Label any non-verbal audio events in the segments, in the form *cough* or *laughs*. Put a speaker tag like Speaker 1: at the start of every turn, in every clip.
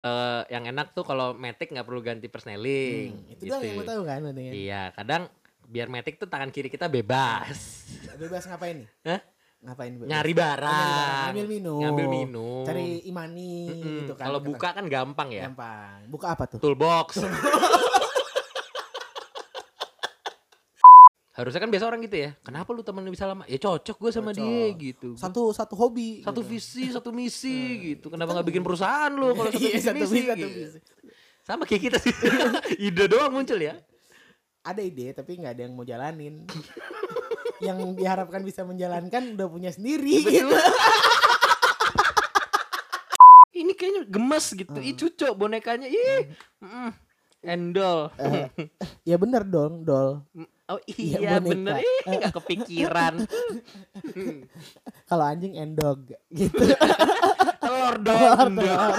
Speaker 1: eh, yang enak tuh kalau Matic nggak perlu ganti persneling.
Speaker 2: Hmm, itu doang yang gue tahu kan pentingnya.
Speaker 1: Gitu. Iya, kadang biar Matic tuh tangan kiri kita
Speaker 2: *laughs*
Speaker 1: bebas.
Speaker 2: Bebas ngapain nih?
Speaker 1: Hah?
Speaker 2: Ngapain
Speaker 1: Nyari
Speaker 2: bebas? Oh, nyari barang.
Speaker 1: barang.
Speaker 2: Ngambil minum.
Speaker 1: Ngambil minum.
Speaker 2: Cari imani
Speaker 1: Mm-mm.
Speaker 2: gitu kan.
Speaker 1: Kalau
Speaker 2: Kata-
Speaker 1: buka kan gampang ya.
Speaker 2: Gampang. Buka apa tuh?
Speaker 1: Toolbox. *laughs* Harusnya kan biasa orang gitu ya. Kenapa lu temen bisa lama? Ya cocok gue sama
Speaker 2: Cocok.
Speaker 1: dia gitu. Satu,
Speaker 2: Satu satu hobi. gitu. Hmm.
Speaker 1: visi, satu misi gitu. Kenapa nggak bikin perusahaan lu kalau satu
Speaker 2: *laughs* Iya,
Speaker 1: visi,
Speaker 2: satu visi, satu
Speaker 1: gitu.
Speaker 2: visi.
Speaker 1: Sama kayak kita sih. *laughs* Ide doang muncul ya.
Speaker 2: Ada ide tapi nggak ada yang mau jalanin. *laughs* yang diharapkan bisa menjalankan udah punya sendiri
Speaker 1: Iya,
Speaker 2: gitu.
Speaker 1: *laughs* Ini kayaknya gemes gitu. Ih
Speaker 2: Hmm.
Speaker 1: cucok bonekanya. Ih. Mm. Endol.
Speaker 2: Eh, ya bener dong, Dol.
Speaker 1: *laughs* Oh
Speaker 2: Iya,
Speaker 1: iya
Speaker 2: boneka.
Speaker 1: bener. Ih gak
Speaker 2: *laughs*
Speaker 1: kepikiran.
Speaker 2: Kalau anjing endog *laughs* gitu.
Speaker 1: Telur dong. endol.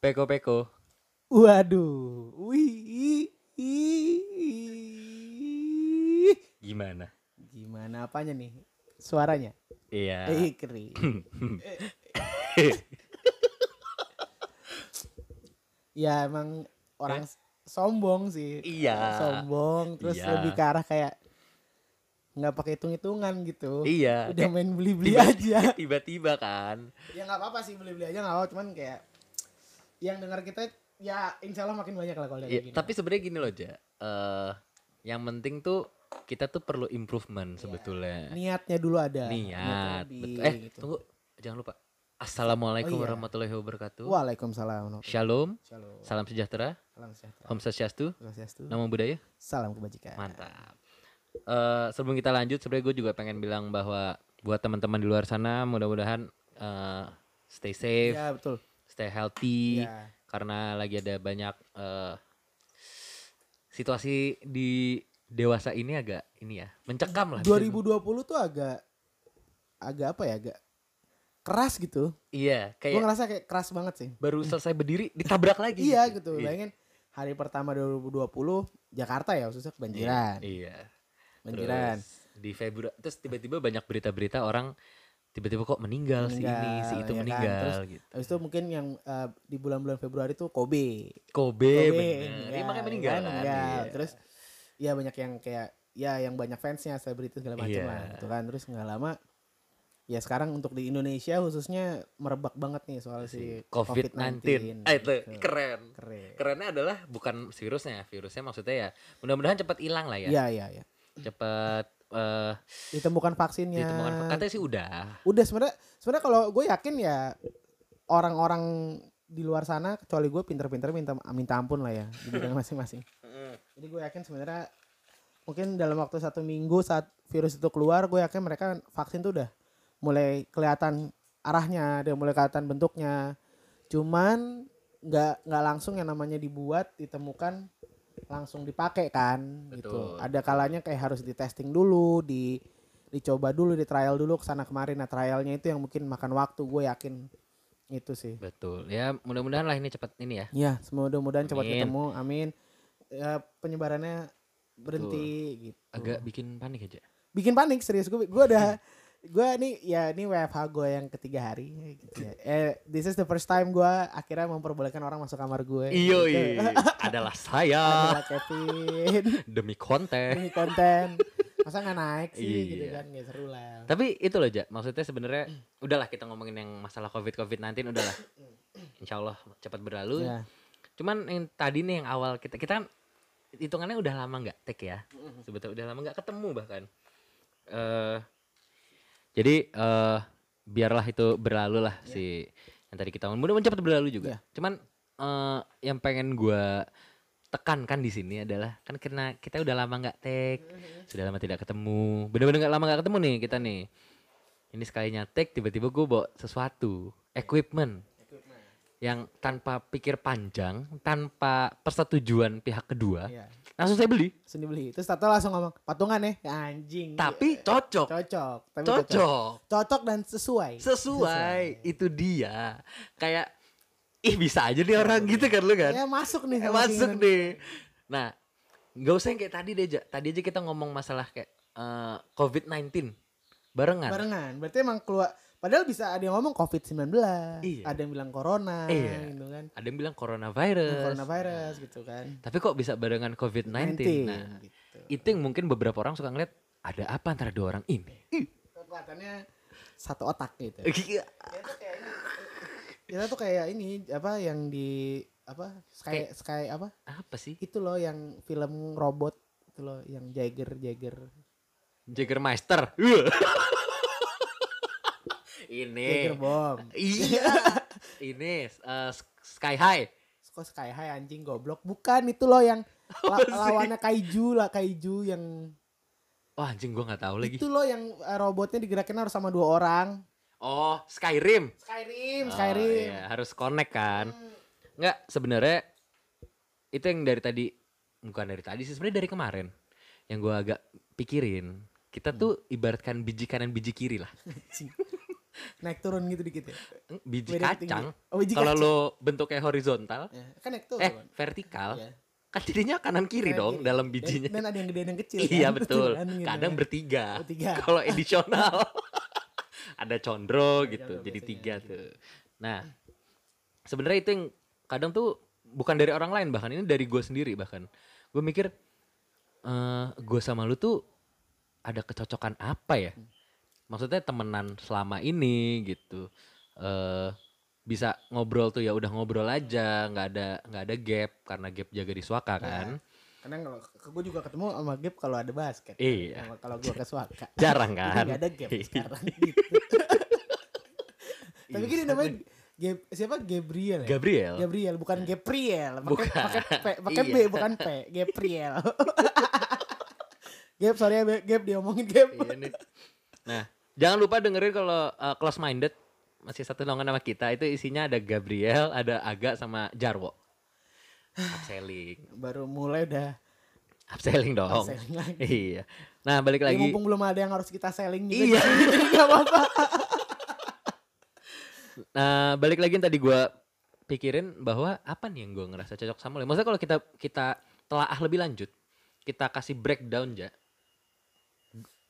Speaker 1: Peko-peko.
Speaker 2: *laughs* Waduh. Wih. ih.
Speaker 1: Gimana?
Speaker 2: Gimana apanya nih? Suaranya?
Speaker 1: Iya.
Speaker 2: Eh,
Speaker 1: *clears throat*
Speaker 2: keri. ya emang orang sombong
Speaker 1: Ya.
Speaker 2: sih.
Speaker 1: Iya.
Speaker 2: Sombong terus
Speaker 1: Iya.
Speaker 2: lebih ke arah kayak nggak pakai hitung-hitungan gitu.
Speaker 1: Iya.
Speaker 2: Udah
Speaker 1: Eh,
Speaker 2: main beli-beli
Speaker 1: tiba- *laughs*
Speaker 2: aja.
Speaker 1: Tiba-tiba kan.
Speaker 2: ya nggak apa-apa sih beli-beli aja nggak apa cuman kayak yang dengar kita ya insya Allah makin banyak lah kalau udah
Speaker 1: Ya,
Speaker 2: kayak gini.
Speaker 1: tapi sebenarnya gini loh, Ja. Eh, yang penting tuh kita tuh perlu
Speaker 2: Iya.
Speaker 1: improvement sebetulnya.
Speaker 2: niatnya dulu ada.
Speaker 1: Niat.
Speaker 2: lebih,
Speaker 1: betul. Eh,
Speaker 2: gitu.
Speaker 1: tunggu. Jangan lupa. Assalamualaikum
Speaker 2: Oh, iya.
Speaker 1: warahmatullahi wabarakatuh.
Speaker 2: Waalaikumsalam.
Speaker 1: Shalom.
Speaker 2: Shalom.
Speaker 1: Salam sejahtera.
Speaker 2: Salam sejahtera.
Speaker 1: Om Swastiastu.
Speaker 2: Swastiastu.
Speaker 1: Namo Buddhaya.
Speaker 2: Salam kebajikan.
Speaker 1: Mantap. Eh, sebelum kita lanjut, sebenarnya gue juga pengen bilang bahwa buat teman-teman di luar sana, mudah-mudahan eh, stay safe,
Speaker 2: Ya betul.
Speaker 1: stay healthy,
Speaker 2: Ya.
Speaker 1: karena lagi ada banyak eh, situasi di dewasa ini agak ini ya mencekam lah. bisa
Speaker 2: 2020 tuh agak agak apa ya agak keras gitu.
Speaker 1: dibilang. Iya,
Speaker 2: Gue
Speaker 1: kayak
Speaker 2: ngerasa kayak keras banget sih.
Speaker 1: baru selesai berdiri ditabrak lagi.
Speaker 2: Iya gitu.
Speaker 1: Iya.
Speaker 2: Bayangin hari pertama 2020 Jakarta ya khususnya kebanjiran.
Speaker 1: Iya.
Speaker 2: Banjiran.
Speaker 1: Terus di Februari terus tiba-tiba banyak berita-berita orang tiba-tiba kok meninggal, si ini, si itu
Speaker 2: Meninggal, ya kan?
Speaker 1: meninggal
Speaker 2: Terus
Speaker 1: gitu.
Speaker 2: Habis itu mungkin yang eh, di bulan-bulan Februari tuh Kobe.
Speaker 1: Kobe,
Speaker 2: meninggal,
Speaker 1: bener. Iya, makanya meninggal
Speaker 2: kan,
Speaker 1: kan.
Speaker 2: meninggal.
Speaker 1: Iya.
Speaker 2: Terus ya banyak yang kayak ya yang banyak fansnya selebritis segala macam
Speaker 1: Iya.
Speaker 2: lah gitu kan. Terus nggak lama ya sekarang untuk di Indonesia khususnya merebak banget nih soal si
Speaker 1: COVID-19.
Speaker 2: COVID-19.
Speaker 1: Ah, itu
Speaker 2: Gitu.
Speaker 1: keren.
Speaker 2: Keren.
Speaker 1: Kerennya adalah bukan si virusnya, virusnya maksudnya ya mudah-mudahan cepat hilang lah ya.
Speaker 2: Iya, iya, iya.
Speaker 1: Cepat eh
Speaker 2: Ditemukan vaksinnya.
Speaker 1: ditemukan. Katanya sih udah.
Speaker 2: Udah sebenarnya sebenarnya kalau gue yakin ya orang-orang di luar sana kecuali gue pinter-pinter minta minta ampun lah ya di bidang masing-masing. Jadi gue yakin sebenarnya mungkin dalam waktu satu minggu saat virus itu keluar, gue yakin mereka vaksin tuh udah mulai kelihatan arahnya, udah mulai kelihatan bentuknya. Cuman nggak nggak langsung yang namanya dibuat ditemukan langsung dipakai kan
Speaker 1: Betul.
Speaker 2: gitu. Ada kalanya kayak harus di testing dulu, di dicoba dulu, di trial dulu kesana kemarin. Nah trialnya itu yang mungkin makan waktu, gue yakin itu sih.
Speaker 1: Betul. Ya, mudah-mudahan lah ini cepat ini ya.
Speaker 2: Ya, semoga-modahan cepat
Speaker 1: Amin.
Speaker 2: ketemu. Amin. Ya, penyebarannya berhenti gitu.
Speaker 1: Agak bikin panik aja.
Speaker 2: Bikin panik serius gue. Gue udah gue nih ya ini WFH gue yang ketiga hari gitu ya. Eh, this is the first time gue akhirnya memperbolehkan orang masuk kamar gue.
Speaker 1: Iyo,
Speaker 2: Gitu.
Speaker 1: Iya, adalah saya
Speaker 2: Adalah Kevin
Speaker 1: demi konten.
Speaker 2: ini konten. Masa nggak naik sih gitu
Speaker 1: Iya.
Speaker 2: kan nggak seru lah.
Speaker 1: Tapi itu loh, Ja. Maksudnya sebenarnya udahlah kita ngomongin yang masalah COVID-COVID-19 udahlah. Insya Allah cepat berlalu.
Speaker 2: Ya.
Speaker 1: Cuman yang tadi nih yang awal kita kita kan hitungannya udah lama nggak take ya. Sebetulnya udah lama nggak ketemu bahkan. eh jadi eh biarlah itu berlalu lah si yang tadi kita ngomongin. Mudah-mudahan cepat berlalu juga.
Speaker 2: Iya.
Speaker 1: Cuman eh yang pengen gua tekankan di sini adalah kan karena kita udah lama nggak take, sudah lama tidak ketemu. Bener-bener nggak lama nggak ketemu nih kita nih. Ini sekalinya take tiba-tiba gue bawa sesuatu, equipment yang tanpa pikir panjang, tanpa persetujuan pihak kedua,
Speaker 2: Iya.
Speaker 1: langsung saya beli.
Speaker 2: Terus dibeli. Terus Tato langsung ngomong, patungan ya, Ya anjing.
Speaker 1: Tapi cocok,
Speaker 2: cocok. Iya. Tapi
Speaker 1: cocok,
Speaker 2: Cocok dan sesuai.
Speaker 1: sesuai. Itu dia. Kayak, ih bisa aja nih orang gitu kan lu kan.
Speaker 2: Ya masuk nih.
Speaker 1: Eh,
Speaker 2: sama
Speaker 1: masuk
Speaker 2: keinginan.
Speaker 1: deh. Nah, nggak usah yang kayak tadi deh, Ja. Tadi aja kita ngomong masalah kayak eh, COVID-19 barengan.
Speaker 2: Barengan. Berarti emang keluar. Padahal bisa ada yang ngomong COVID-19.
Speaker 1: Iya.
Speaker 2: Ada yang bilang corona.
Speaker 1: Iya.
Speaker 2: Gitu kan.
Speaker 1: Ada yang bilang coronavirus.
Speaker 2: Coronavirus gitu kan.
Speaker 1: Tapi kok bisa barengan COVID-19?
Speaker 2: 19,
Speaker 1: Nah,
Speaker 2: gitu.
Speaker 1: itu yang mungkin beberapa orang suka ngeliat ada apa antara dua orang ini.
Speaker 2: Kekuatannya satu otak gitu.
Speaker 1: Iya.
Speaker 2: Kita tuh kayak ini apa yang di apa sky sky apa
Speaker 1: apa sih?
Speaker 2: itu loh yang film robot itu loh yang Jagger Jagger
Speaker 1: *laughs* Jägermeister. Wah. ini.
Speaker 2: Jagger Bomb. *laughs*
Speaker 1: Iya. ini eh, Sky High.
Speaker 2: Kok Sky High anjing goblok? Bukan itu
Speaker 1: *laughs*
Speaker 2: loh yang la-
Speaker 1: sih?
Speaker 2: lawannya kaiju lah kaiju yang
Speaker 1: Wah Oh, anjing gua nggak tahu lagi.
Speaker 2: itu loh yang eh, robotnya digerakin harus sama dua orang.
Speaker 1: Oh, Skyrim.
Speaker 2: Skyrim,
Speaker 1: Oh,
Speaker 2: Kan Skyrim.
Speaker 1: iya, harus connect kan. Enggak, sebenarnya itu yang dari tadi bukan dari tadi sih sebenarnya dari kemarin yang gua agak pikirin. Kita tuh
Speaker 2: Hmm.
Speaker 1: ibaratkan biji kanan biji kiri lah.
Speaker 2: Anjing. Naik turun gitu dikit ya.
Speaker 1: Eng, Biji
Speaker 2: Beda tinggi.
Speaker 1: kacang.
Speaker 2: Oh, biji
Speaker 1: Kalau
Speaker 2: kacang.
Speaker 1: lo bentuknya horizontal,
Speaker 2: Ya, kan naik turun.
Speaker 1: eh vertikal,
Speaker 2: Iya.
Speaker 1: kan jadinya kanan kiri
Speaker 2: Kanan
Speaker 1: dong
Speaker 2: kiri.
Speaker 1: dalam
Speaker 2: Dan-
Speaker 1: bijinya.
Speaker 2: Dan, ada yang gede dan yang kecil.
Speaker 1: *laughs* Iya
Speaker 2: kan? *laughs*
Speaker 1: betul.
Speaker 2: Kan, gitu
Speaker 1: Kadang
Speaker 2: kan.
Speaker 1: bertiga.
Speaker 2: Bertiga.
Speaker 1: *laughs* Kalau
Speaker 2: *laughs*
Speaker 1: edisional ada condro gitu,
Speaker 2: condro
Speaker 1: jadi
Speaker 2: biasanya, iya.
Speaker 1: tiga tuh. Nah, sebenarnya itu yang kadang tuh bukan dari orang lain bahkan ini dari gue sendiri bahkan. Gue mikir eh gue sama lu tuh ada kecocokan apa ya?
Speaker 2: Hmm.
Speaker 1: Maksudnya temenan selama ini gitu. Eh bisa ngobrol tuh ya udah ngobrol aja, nggak ada nggak ada gap karena gap jaga di swaka
Speaker 2: Iya.
Speaker 1: kan.
Speaker 2: Karena kalau gue juga ketemu sama Gap kalau ada basket.
Speaker 1: Iya.
Speaker 2: Sama- Kalau gue ke Swaka.
Speaker 1: *laughs* Jarang
Speaker 2: Jadi
Speaker 1: kan.
Speaker 2: nggak ada Gap
Speaker 1: Iya.
Speaker 2: sekarang
Speaker 1: *laughs*
Speaker 2: gitu. Tapi gini namanya Gap, siapa Gabriel ya?
Speaker 1: Iya, Gabriel. Nah.
Speaker 2: Gabriel bukan Gabriel, pakai
Speaker 1: Bukan.
Speaker 2: pakai
Speaker 1: *laughs*
Speaker 2: P, pakai B
Speaker 1: Iya.
Speaker 2: bukan P, Gabriel. *laughs* Gap sorry ya Gap diomongin Gap.
Speaker 1: Iya nih. Nah, jangan lupa dengerin kalau uh, close minded masih satu lowongan sama kita itu isinya ada Gabriel, ada Aga sama Jarwo. Upselling.
Speaker 2: Baru mulai udah
Speaker 1: Upselling dong.
Speaker 2: Upselling lagi.
Speaker 1: *laughs* Iya. Nah, balik Oh.
Speaker 2: ya,
Speaker 1: lagi.
Speaker 2: mumpung belum ada yang harus kita selling juga. Nah,
Speaker 1: Iya.
Speaker 2: Jadi nggak apa-apa.
Speaker 1: *laughs* Nah, balik lagi yang tadi gua pikirin bahwa apa nih yang gua ngerasa cocok sama lo. Maksudnya kalau kita kita telaah lebih lanjut, kita kasih breakdown ja.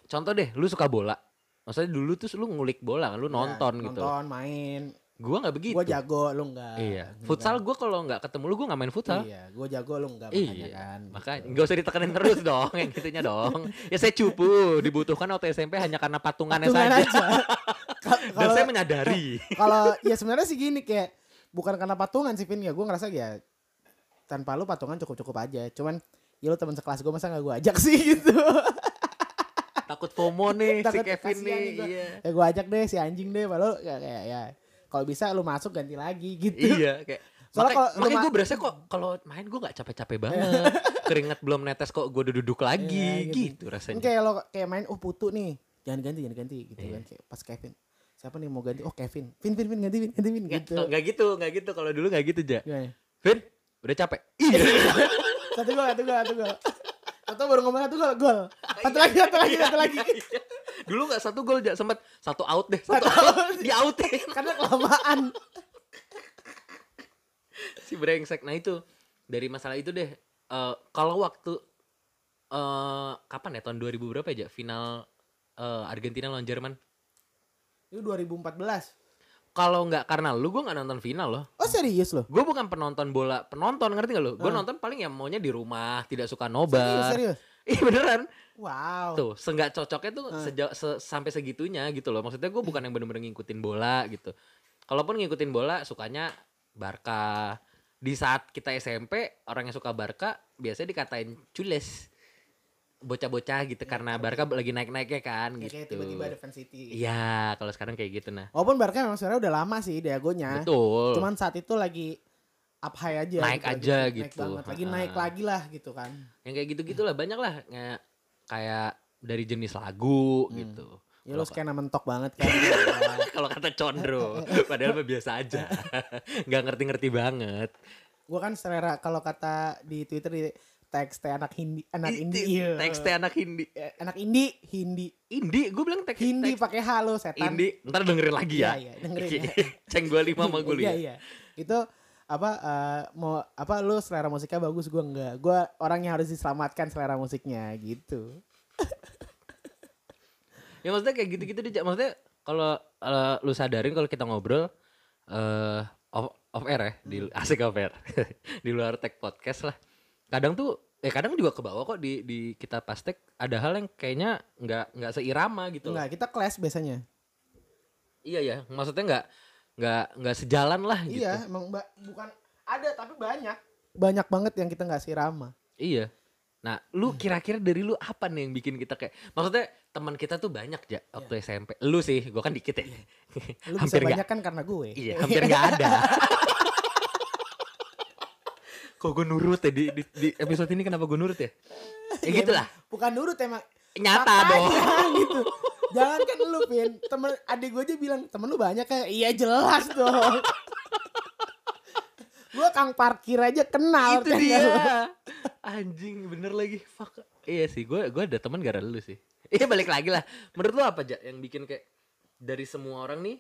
Speaker 1: Contoh deh, lu suka bola. Maksudnya dulu tuh lu ngulik bola, kan, lu nonton
Speaker 2: Ya,
Speaker 1: gitu.
Speaker 2: Nonton, main.
Speaker 1: Gua nggak begitu.
Speaker 2: Gue jago, lu enggak.
Speaker 1: Iya. Futsal gue kalau nggak ketemu lu gue nggak main futsal.
Speaker 2: Iya, gue jago lu enggak makanya
Speaker 1: Iya.
Speaker 2: kan.
Speaker 1: Makanya nggak usah ditekenin terus dong *laughs* yang gitunya dong. Ya saya cupu dibutuhkan waktu SMP hanya karena patungannya
Speaker 2: Tungan
Speaker 1: saja. *laughs*
Speaker 2: aja. Ka-
Speaker 1: Dan
Speaker 2: Kalau
Speaker 1: saya menyadari.
Speaker 2: kalau ya sebenarnya sih gini kayak bukan karena patungan sih Vin ya gue ngerasa ya tanpa lu patungan cukup-cukup aja. Cuman ya lu teman sekelas gue masa gak gue ajak sih *laughs* gitu.
Speaker 1: *laughs* Takut FOMO nih si
Speaker 2: Takut
Speaker 1: Kevin nih.
Speaker 2: kasihan nih gua.
Speaker 1: Iya.
Speaker 2: *laughs* ya gue ajak deh si anjing deh padahal ya, kayak ya kalau bisa lu masuk ganti lagi *laughs* gitu.
Speaker 1: Iya kayak
Speaker 2: Soalnya
Speaker 1: makanya,
Speaker 2: kalau lu ma-
Speaker 1: gue berasa kok kalau main gue nggak capek-capek
Speaker 2: *laughs*
Speaker 1: banget. Keringat belum netes kok gue duduk lagi
Speaker 2: Iya,
Speaker 1: gitu.
Speaker 2: gitu. Kan
Speaker 1: rasanya.
Speaker 2: kayak lo kayak main oh putu nih. Jangan ganti, jangan ganti gitu
Speaker 1: Iya.
Speaker 2: kan kayak pas Kevin. Siapa nih mau ganti? Oh Kevin. Vin Vin Vin ganti Vin ganti Vin
Speaker 1: Nggak
Speaker 2: gitu.
Speaker 1: nggak gitu, nggak gitu. Kalau dulu nggak gitu aja.
Speaker 2: Gimana? ya?
Speaker 1: Vin, udah
Speaker 2: *laughs*
Speaker 1: capek. Iya.
Speaker 2: Satu gol, satu gol, satu gol. Atau baru ngomong satu gol, gol.
Speaker 1: Iya.
Speaker 2: Satu lagi, satu lagi, satu lagi. *laughs*
Speaker 1: Dulu nggak satu gol aja sempat satu out deh, satu, out, di outin.
Speaker 2: Karena kelamaan.
Speaker 1: si brengsek nah itu dari masalah itu deh Eh, kalau waktu eh kapan ya tahun 2000 berapa aja final eh, Argentina lawan Jerman
Speaker 2: Itu 2014.
Speaker 1: kalau nggak karena lu gue nggak nonton final loh
Speaker 2: Oh serius loh?
Speaker 1: gue bukan penonton bola penonton ngerti nggak lu gue nonton paling ya maunya di rumah tidak suka nobar
Speaker 2: Ah. Serius, serius.
Speaker 1: Ih beneran
Speaker 2: Wow.
Speaker 1: tuh senggak cocoknya tuh
Speaker 2: Ah.
Speaker 1: sejauh se- sampai segitunya gitu loh maksudnya gue bukan yang bener-bener ngikutin bola gitu kalaupun ngikutin bola sukanya Barca di saat kita SMP orang yang suka Barca biasanya dikatain cules bocah-bocah gitu karena Barca lagi naik-naiknya kan
Speaker 2: Iya, Kayak- Kayak
Speaker 1: gitu
Speaker 2: tiba-tiba ada fan City.
Speaker 1: iya kalau sekarang kayak gitu nah
Speaker 2: Walaupun Barca memang sebenarnya udah lama sih dagonya.
Speaker 1: betul
Speaker 2: Cuman saat itu lagi up high aja.
Speaker 1: Naik
Speaker 2: lagi-
Speaker 1: aja
Speaker 2: naik
Speaker 1: gitu.
Speaker 2: banget. Lagi
Speaker 1: Ha-ha.
Speaker 2: naik lagi lah gitu kan.
Speaker 1: yang kayak gitu gitulah banyak lah kayak kayak dari jenis lagu gitu
Speaker 2: Ya lu
Speaker 1: Kalau-
Speaker 2: skena mentok banget
Speaker 1: *laughs*
Speaker 2: kan.
Speaker 1: Kalau kata condro, padahal mah biasa aja. Nggak ngerti-ngerti banget.
Speaker 2: gue kan selera kalau kata di Twitter di teks teh anak Hindi, anak Indi. iya.
Speaker 1: Teksnya anak Hindi.
Speaker 2: Eh, anak Indi, Hindi.
Speaker 1: Indi, gue bilang teks
Speaker 2: Hindi
Speaker 1: teks
Speaker 2: pakai halo setan.
Speaker 1: Indi, ntar dengerin lagi ya.
Speaker 2: Iya, iya, dengerin
Speaker 1: Oke.
Speaker 2: ya.
Speaker 1: Ceng gue lima sama ya. gue
Speaker 2: *laughs* Iya,
Speaker 1: lima.
Speaker 2: iya. Itu apa eh, mau apa lu selera musiknya bagus gua enggak. Gua orang yang harus diselamatkan selera musiknya gitu.
Speaker 1: Ya maksudnya kayak gitu-gitu dia. Maksudnya kalau eh, lu sadarin kalau kita ngobrol eh off, off air ya, di,
Speaker 2: Hmm.
Speaker 1: asik off air. *laughs* di luar tag podcast lah. Kadang tuh eh kadang juga ke bawah kok di di kita pas tag ada hal yang kayaknya nggak nggak seirama gitu. loh.
Speaker 2: Enggak, Nah, kita clash biasanya.
Speaker 1: Iya ya, maksudnya nggak nggak nggak sejalan lah gitu.
Speaker 2: Iya, emang ba- bukan ada tapi banyak. Banyak banget yang kita nggak sirama.
Speaker 1: Iya. Nah, lu kira-kira dari lu apa nih yang bikin kita kayak maksudnya teman kita tuh banyak ya waktu SMP. Lu sih, gua kan dikit ya.
Speaker 2: Iya.
Speaker 1: *laughs*
Speaker 2: Lu
Speaker 1: hampir
Speaker 2: bisa
Speaker 1: nggak.
Speaker 2: banyak kan karena gue.
Speaker 1: Iya, hampir nggak
Speaker 2: *laughs*
Speaker 1: ada. Kok gue nurut ya di, di, di episode ini kenapa gue nurut ya? Ya gitu lah.
Speaker 2: Bukan nurut Iya, emang.
Speaker 1: Nyata dong.
Speaker 2: *laughs* Faktanya gitu. Jangan kan lu Pin, temen adik gue aja bilang temen lu banyak kan? Iya jelas
Speaker 1: *laughs*
Speaker 2: dong. gue kang parkir aja kenal. *laughs*
Speaker 1: Itu
Speaker 2: kan?
Speaker 1: dia. Anjing, bener lagi. Fuck. Iya sih, gue gua ada teman gara lu *laughs* sih. Iya balik lagi lah. Menurut lu apa aja yang bikin kayak dari semua orang nih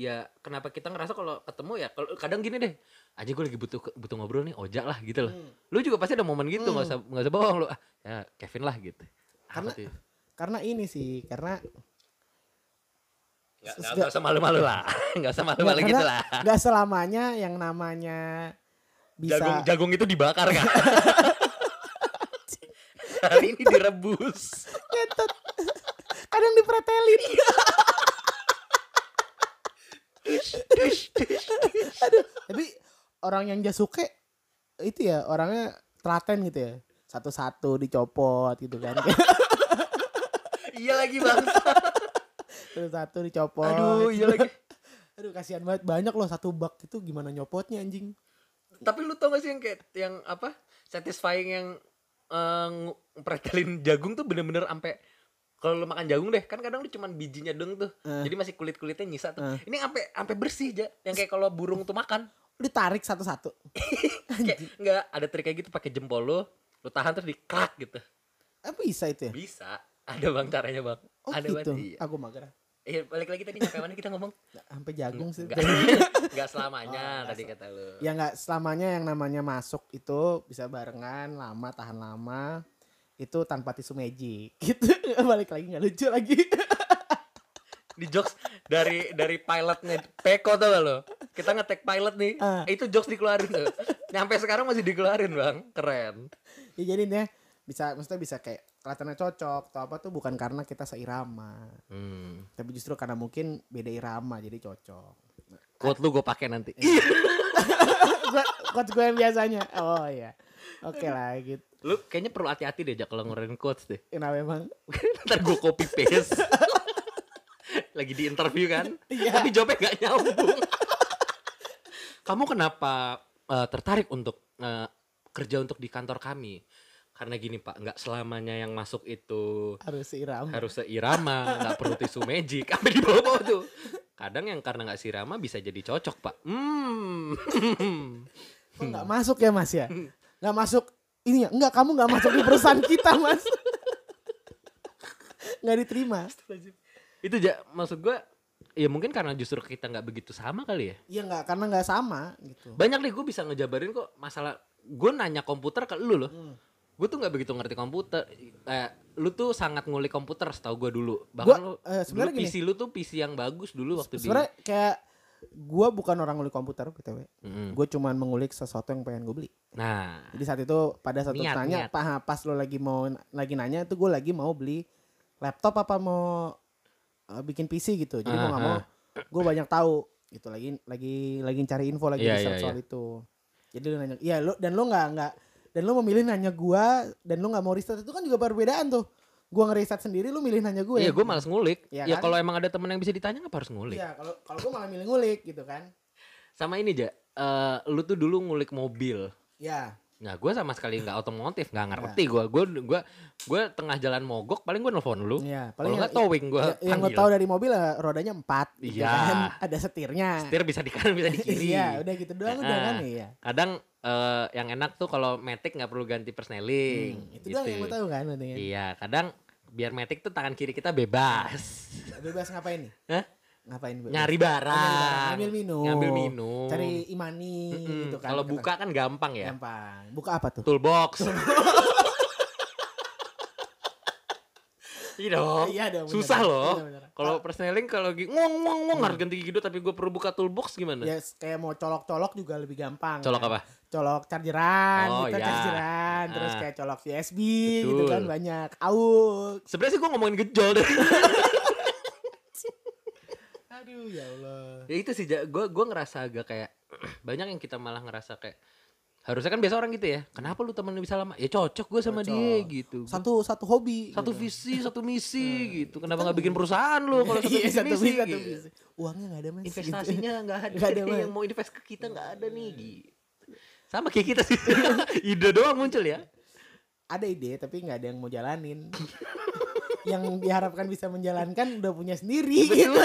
Speaker 1: ya kenapa kita ngerasa kalau ketemu ya kalau kadang gini deh aja gue lagi butuh butuh ngobrol nih ojak lah gitu loh
Speaker 2: Hmm.
Speaker 1: lu juga pasti ada momen gitu nggak usah nggak usah bohong lu ah ya Kevin lah gitu
Speaker 2: Karena-
Speaker 1: Apa tuh?
Speaker 2: Karena ini sih,
Speaker 1: *laughs*
Speaker 2: karena
Speaker 1: Nggak-
Speaker 2: Terus
Speaker 1: nggak-
Speaker 2: nggak-
Speaker 1: nggak usah malu-malu lah *laughs* nggak usah malu-malu
Speaker 2: ya karena
Speaker 1: gitu lah
Speaker 2: nggak selamanya yang namanya bisa
Speaker 1: jagung jagung itu dibakar
Speaker 2: *laughs*
Speaker 1: kan hari ini direbus
Speaker 2: Ngetot. *laughs* kadang
Speaker 1: *laughs*
Speaker 2: dipretelin. Aduh, tapi orang yang Jasuke itu ya orangnya telaten gitu ya. Satu-satu dicopot gitu
Speaker 1: *laughs*
Speaker 2: kan.
Speaker 1: iya lagi bang
Speaker 2: Satu-satu dicopot.
Speaker 1: aduh iya lagi
Speaker 2: *laughs* Aduh kasihan banget banyak loh satu bak itu gimana nyopotnya anjing.
Speaker 1: tapi lu tau gak sih yang kayak yang apa satisfying yang eh, ngu- pretelin jagung tuh bener-bener ampe kalau lu makan jagung deh kan kadang lu cuman bijinya dong tuh
Speaker 2: Eh.
Speaker 1: jadi masih kulit kulitnya nyisa tuh
Speaker 2: Eh.
Speaker 1: ini ampe ampe bersih aja yang kayak kalau burung tuh
Speaker 2: *laughs*
Speaker 1: makan
Speaker 2: Ditarik satu-satu.
Speaker 1: kayak nggak ada trik kayak gitu pakai jempol lu lu tahan terus dikrak gitu
Speaker 2: Eh bisa itu ya?
Speaker 1: bisa ada bang caranya bang
Speaker 2: Oh
Speaker 1: ada
Speaker 2: gitu.
Speaker 1: banget iya.
Speaker 2: Aku mager.
Speaker 1: Iya, balik lagi tadi sampai mana kita ngomong?
Speaker 2: Nggak, Sampai jagung sih.
Speaker 1: Enggak, *laughs* enggak selamanya tadi kata lu.
Speaker 2: ya nggak selamanya yang namanya masuk itu bisa barengan lama tahan lama itu tanpa tisu magic *laughs* gitu balik lagi nggak lucu lagi *laughs*
Speaker 1: Di jokes dari dari pilotnya Peko tuh lo. Kita ngetek pilot nih.
Speaker 2: Ah.
Speaker 1: Itu jokes dikeluarin tuh. Nyampe sekarang masih dikeluarin, Bang. Keren.
Speaker 2: ya jadi nih bisa maksudnya bisa kayak kelihatannya cocok atau apa tuh bukan karena kita seirama
Speaker 1: Hmm.
Speaker 2: tapi justru karena mungkin beda irama jadi cocok *laughs*
Speaker 1: Quote lu gue pakai nanti.
Speaker 2: Gua- quotes gue yang biasanya oh iya oke lah gitu Ya, nah,
Speaker 1: lu kayaknya perlu hati-hati deh Jak kalau ngeluarin quotes deh. *laughs*
Speaker 2: kenapa emang
Speaker 1: Ntar gue copy paste. Lagi di interview kan.
Speaker 2: Iya.
Speaker 1: Tapi jawabnya gak nyambung. Kamu kenapa eh, tertarik untuk eh, kerja untuk di kantor kami? Karena gini Pak, nggak selamanya yang masuk itu
Speaker 2: harus seirama
Speaker 1: harus seirama, nggak perlu tisu magic, apa di bawah tuh. Kadang yang karena nggak sirama bisa jadi cocok pak. Hmm. *laughs*
Speaker 2: Oh, nggak masuk ya mas ya nggak masuk ini ya nggak kamu nggak masuk di perusahaan kita mas nggak diterima
Speaker 1: Itu ja, maksud gua ya mungkin karena justru kita nggak begitu sama kali ya.
Speaker 2: Iya nggak karena nggak sama gitu.
Speaker 1: Banyak nih gue bisa ngejabarin kok masalah gue nanya komputer ke lu loh.
Speaker 2: Hmm.
Speaker 1: Gue tuh nggak begitu ngerti komputer. Eh, lu tuh sangat ngulik komputer setahu gue dulu. Bahkan
Speaker 2: Gua,
Speaker 1: lu,
Speaker 2: eh,
Speaker 1: dulu
Speaker 2: sebenarnya gini.
Speaker 1: PC lu tuh PC yang bagus dulu waktu di.
Speaker 2: Sebenarnya kayak gua bukan orang ngulik komputer btw.
Speaker 1: Mm-mm.
Speaker 2: Gue cuman mengulik sesuatu yang pengen gue beli.
Speaker 1: Nah,
Speaker 2: Jadi saat itu pada satu
Speaker 1: Niat,
Speaker 2: tanya
Speaker 1: niat.
Speaker 2: pa- pas lo lagi mau lagi nanya itu gue lagi mau beli laptop apa mau eh, bikin PC gitu. Jadi mau nggak mau
Speaker 1: Aha.
Speaker 2: gue banyak tahu gitu lagi lagi lagi cari info lagi
Speaker 1: Iya,
Speaker 2: research
Speaker 1: iya,
Speaker 2: soal itu. Jadi lu nanya, iya lu dan lu nggak nggak dan lu memilih nanya gua dan lu nggak mau riset itu kan juga perbedaan tuh. Gua ngeriset sendiri lu milih nanya gue.
Speaker 1: iya gue malas ngulik.
Speaker 2: Iya
Speaker 1: Ya
Speaker 2: kan?
Speaker 1: kalau emang ada temen yang bisa ditanya apa harus ngulik?
Speaker 2: Iya, kalau kalau gue malah milih ngulik gitu kan.
Speaker 1: Sama ini aja, eh lu tuh dulu ngulik mobil.
Speaker 2: Ya,
Speaker 1: Nah, gue sama sekali nggak otomotif, nggak ngerti
Speaker 2: Nah.
Speaker 1: gue. Gue gue gue tengah jalan mogok, paling gue nelfon lu.
Speaker 2: Iya,
Speaker 1: Kalau
Speaker 2: paling
Speaker 1: nggak
Speaker 2: yang,
Speaker 1: towing gue
Speaker 2: ya- yang gue tahu dari mobil ya, rodanya empat, gitu
Speaker 1: Iya.
Speaker 2: kan. *laughs* ada setirnya.
Speaker 1: Setir bisa di kanan, bisa di kiri.
Speaker 2: Iya, udah gitu doang udah kan
Speaker 1: Nah.
Speaker 2: iya.
Speaker 1: Kadang eh, yang enak tuh kalau metik nggak perlu ganti persneling. gitu.
Speaker 2: Hmm, itu doang yang gue tahu kan katanya.
Speaker 1: Iya, kadang biar metik tuh tangan kiri kita bebas.
Speaker 2: Bebas ngapain nih?
Speaker 1: Hah?
Speaker 2: Ngapain bebas?
Speaker 1: Iya. Nyari
Speaker 2: Oh, nyari barang,
Speaker 1: barang.
Speaker 2: Ngambil minum.
Speaker 1: Ngambil minum.
Speaker 2: Cari imani
Speaker 1: Mm-mm.
Speaker 2: gitu kan.
Speaker 1: Kalau
Speaker 2: kata-
Speaker 1: buka kan gampang ya.
Speaker 2: gampang. Buka apa tuh?
Speaker 1: Toolbox. Iya dong.
Speaker 2: Iya dong, bener.
Speaker 1: Susah loh.
Speaker 2: Iya, bener.
Speaker 1: Kalau persneling kalau gitu ngong ngong ngong harus ganti gigi dulu tapi gue perlu buka toolbox gimana?
Speaker 2: Ya kayak mau colok-colok juga lebih gampang.
Speaker 1: Colok
Speaker 2: kan.
Speaker 1: apa?
Speaker 2: Colok chargeran,
Speaker 1: Oh,
Speaker 2: gitu
Speaker 1: iya.
Speaker 2: chargeran, terus
Speaker 1: Ah.
Speaker 2: kayak colok USB gitu
Speaker 1: Betul.
Speaker 2: kan banyak. Aux.
Speaker 1: Sebenarnya sih gue ngomongin gejol deh.
Speaker 2: Aduh ya Allah.
Speaker 1: *laughs* ya itu sih gue gue ngerasa agak kayak *clears throat* banyak yang kita malah ngerasa kayak harusnya kan biasa orang gitu ya. Kenapa lu temennya bisa lama? Ya cocok gue sama
Speaker 2: Cocok.
Speaker 1: dia gitu. Gua-
Speaker 2: Satu satu hobi.
Speaker 1: satu visi, satu misi gitu. Kenapa nggak bikin perusahaan lu kalau satu
Speaker 2: Iya,
Speaker 1: visi,
Speaker 2: satu visi, satu
Speaker 1: gitu.
Speaker 2: visi. Uangnya enggak ada Mas. gitu.
Speaker 1: investasinya nggak ada,
Speaker 2: Nggak ada,
Speaker 1: nih,
Speaker 2: Mas.
Speaker 1: yang mau invest ke kita nggak ada nih gitu. sama kayak kita sih *laughs* ide doang muncul ya
Speaker 2: ada ide tapi nggak ada yang mau jalanin yang diharapkan bisa menjalankan udah punya sendiri
Speaker 1: Iya,
Speaker 2: gitu.
Speaker 1: *laughs*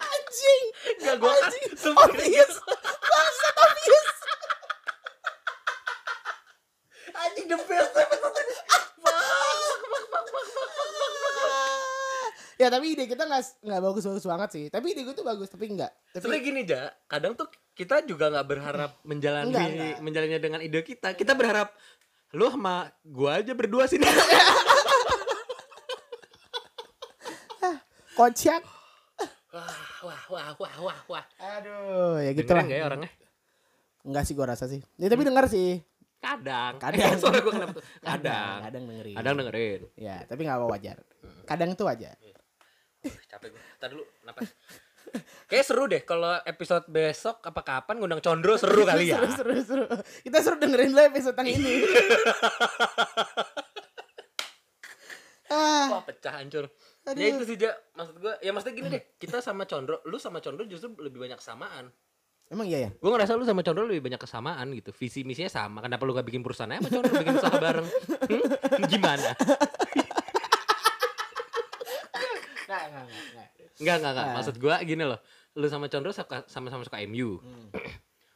Speaker 2: anjing
Speaker 1: nggak gua *laughs*
Speaker 2: anjing obvious bangsat obvious
Speaker 1: anjing the best
Speaker 2: ya tapi ide kita nggak nggak bagus bagus banget sih tapi ide gue tuh bagus tapi nggak tapi
Speaker 1: sebenarnya gini ja kadang tuh kita juga nggak berharap menjalani
Speaker 2: Nggak, nggak.
Speaker 1: menjalannya dengan ide kita kita berharap lu sama gua aja berdua *laughs* sini
Speaker 2: kocak
Speaker 1: wah wah wah wah wah wah
Speaker 2: aduh ya gitu lah
Speaker 1: dengerin nggak ya orangnya
Speaker 2: nggak sih gue rasa sih ya tapi dengar sih
Speaker 1: kadang
Speaker 2: Kadang.
Speaker 1: *laughs* suara gua kenapa tuh kadang
Speaker 2: kadang dengerin
Speaker 1: kadang dengerin
Speaker 2: ya tapi nggak apa wajar kadang tuh wajar
Speaker 1: Wih, capek gue. Ntar dulu, napas. Kayaknya seru deh kalau episode besok apa kapan ngundang Condro *laughs* seru kali ya.
Speaker 2: *laughs* seru, seru, seru. Kita suruh dengerin dulu episode yang ini.
Speaker 1: Wah
Speaker 2: ah,
Speaker 1: pecah hancur.
Speaker 2: Aduh.
Speaker 1: Ya itu sih Ja, maksud gue. Ya maksudnya gini deh, kita sama Condro, lu sama Condro justru lebih banyak kesamaan.
Speaker 2: emang iya ya?
Speaker 1: Gue ngerasa lu sama Condro lebih banyak kesamaan gitu. Visi misinya sama. Kenapa lu gak bikin perusahaan aja sama Condro bikin usaha bareng? Hmm? Gimana?
Speaker 2: Enggak, enggak, enggak.
Speaker 1: Enggak, enggak,
Speaker 2: Nah.
Speaker 1: enggak. Maksud gue gini loh. Lu sama Condro suka- sama-sama suka MU.
Speaker 2: Hmm.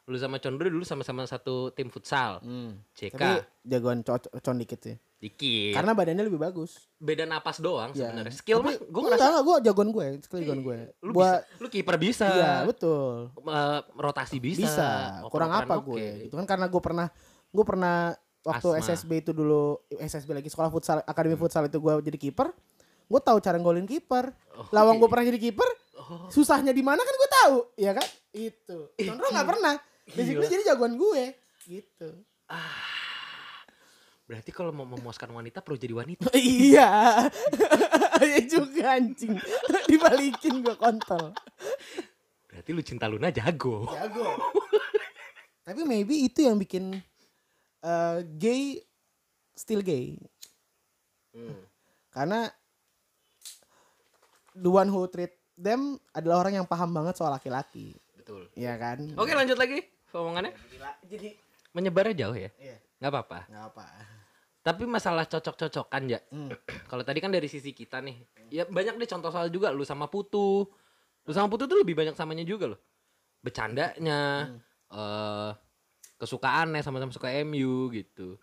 Speaker 1: Lu sama Condro dulu sama-sama satu tim futsal.
Speaker 2: Hmm.
Speaker 1: CK.
Speaker 2: Tapi jagoan co- con dikit sih.
Speaker 1: Dikit.
Speaker 2: Karena badannya lebih bagus.
Speaker 1: beda napas doang
Speaker 2: Ya.
Speaker 1: sebenarnya. Skill mah gue
Speaker 2: Enggak,
Speaker 1: ngerasa
Speaker 2: enggak, gue jagoan gue, skill jagoan gue.
Speaker 1: lu
Speaker 2: Gua
Speaker 1: bisa, lu kiper bisa.
Speaker 2: iya, betul.
Speaker 1: Eh, rotasi bisa.
Speaker 2: Bisa.
Speaker 1: oper-operan
Speaker 2: Kurang apa
Speaker 1: oke.
Speaker 2: gue? Gitu kan karena gue pernah gue pernah waktu
Speaker 1: Asma.
Speaker 2: SSB itu dulu SSB lagi sekolah futsal akademi futsal itu gue jadi kiper gue tahu cara golin kiper
Speaker 1: Oh,
Speaker 2: lawang gue
Speaker 1: iya.
Speaker 2: pernah jadi kiper
Speaker 1: Oh,
Speaker 2: susahnya di mana kan gue tahu ya kan itu Condro nggak pernah
Speaker 1: Iya.
Speaker 2: basically
Speaker 1: Gila.
Speaker 2: jadi jagoan gue
Speaker 1: *laughs*
Speaker 2: gitu
Speaker 1: berarti kalau mau memuaskan wanita perlu jadi wanita.
Speaker 2: iya *laughs* ya juga anjing *laughs* dibalikin gue kontol
Speaker 1: Berarti lu cinta Luna jago.
Speaker 2: jago tapi maybe itu yang bikin eh, gay still gay
Speaker 1: Hmm.
Speaker 2: karena the one who treat them adalah orang yang paham banget soal laki-laki
Speaker 1: Betul.
Speaker 2: Iya kan
Speaker 1: *laughs* Oke, lanjut lagi omongannya.
Speaker 2: Oh, jadi
Speaker 1: Menyebarnya jauh ya?
Speaker 2: iya
Speaker 1: nggak apa-apa.
Speaker 2: nggak apa
Speaker 1: Tapi masalah cocok-cocokan ya. Kalau tadi kan dari sisi kita nih. Ya banyak deh contoh soal juga lu sama Putu. Lu sama Putu tuh lebih banyak samanya juga loh. Bercandanya, eh kesukaannya sama-sama suka MU gitu.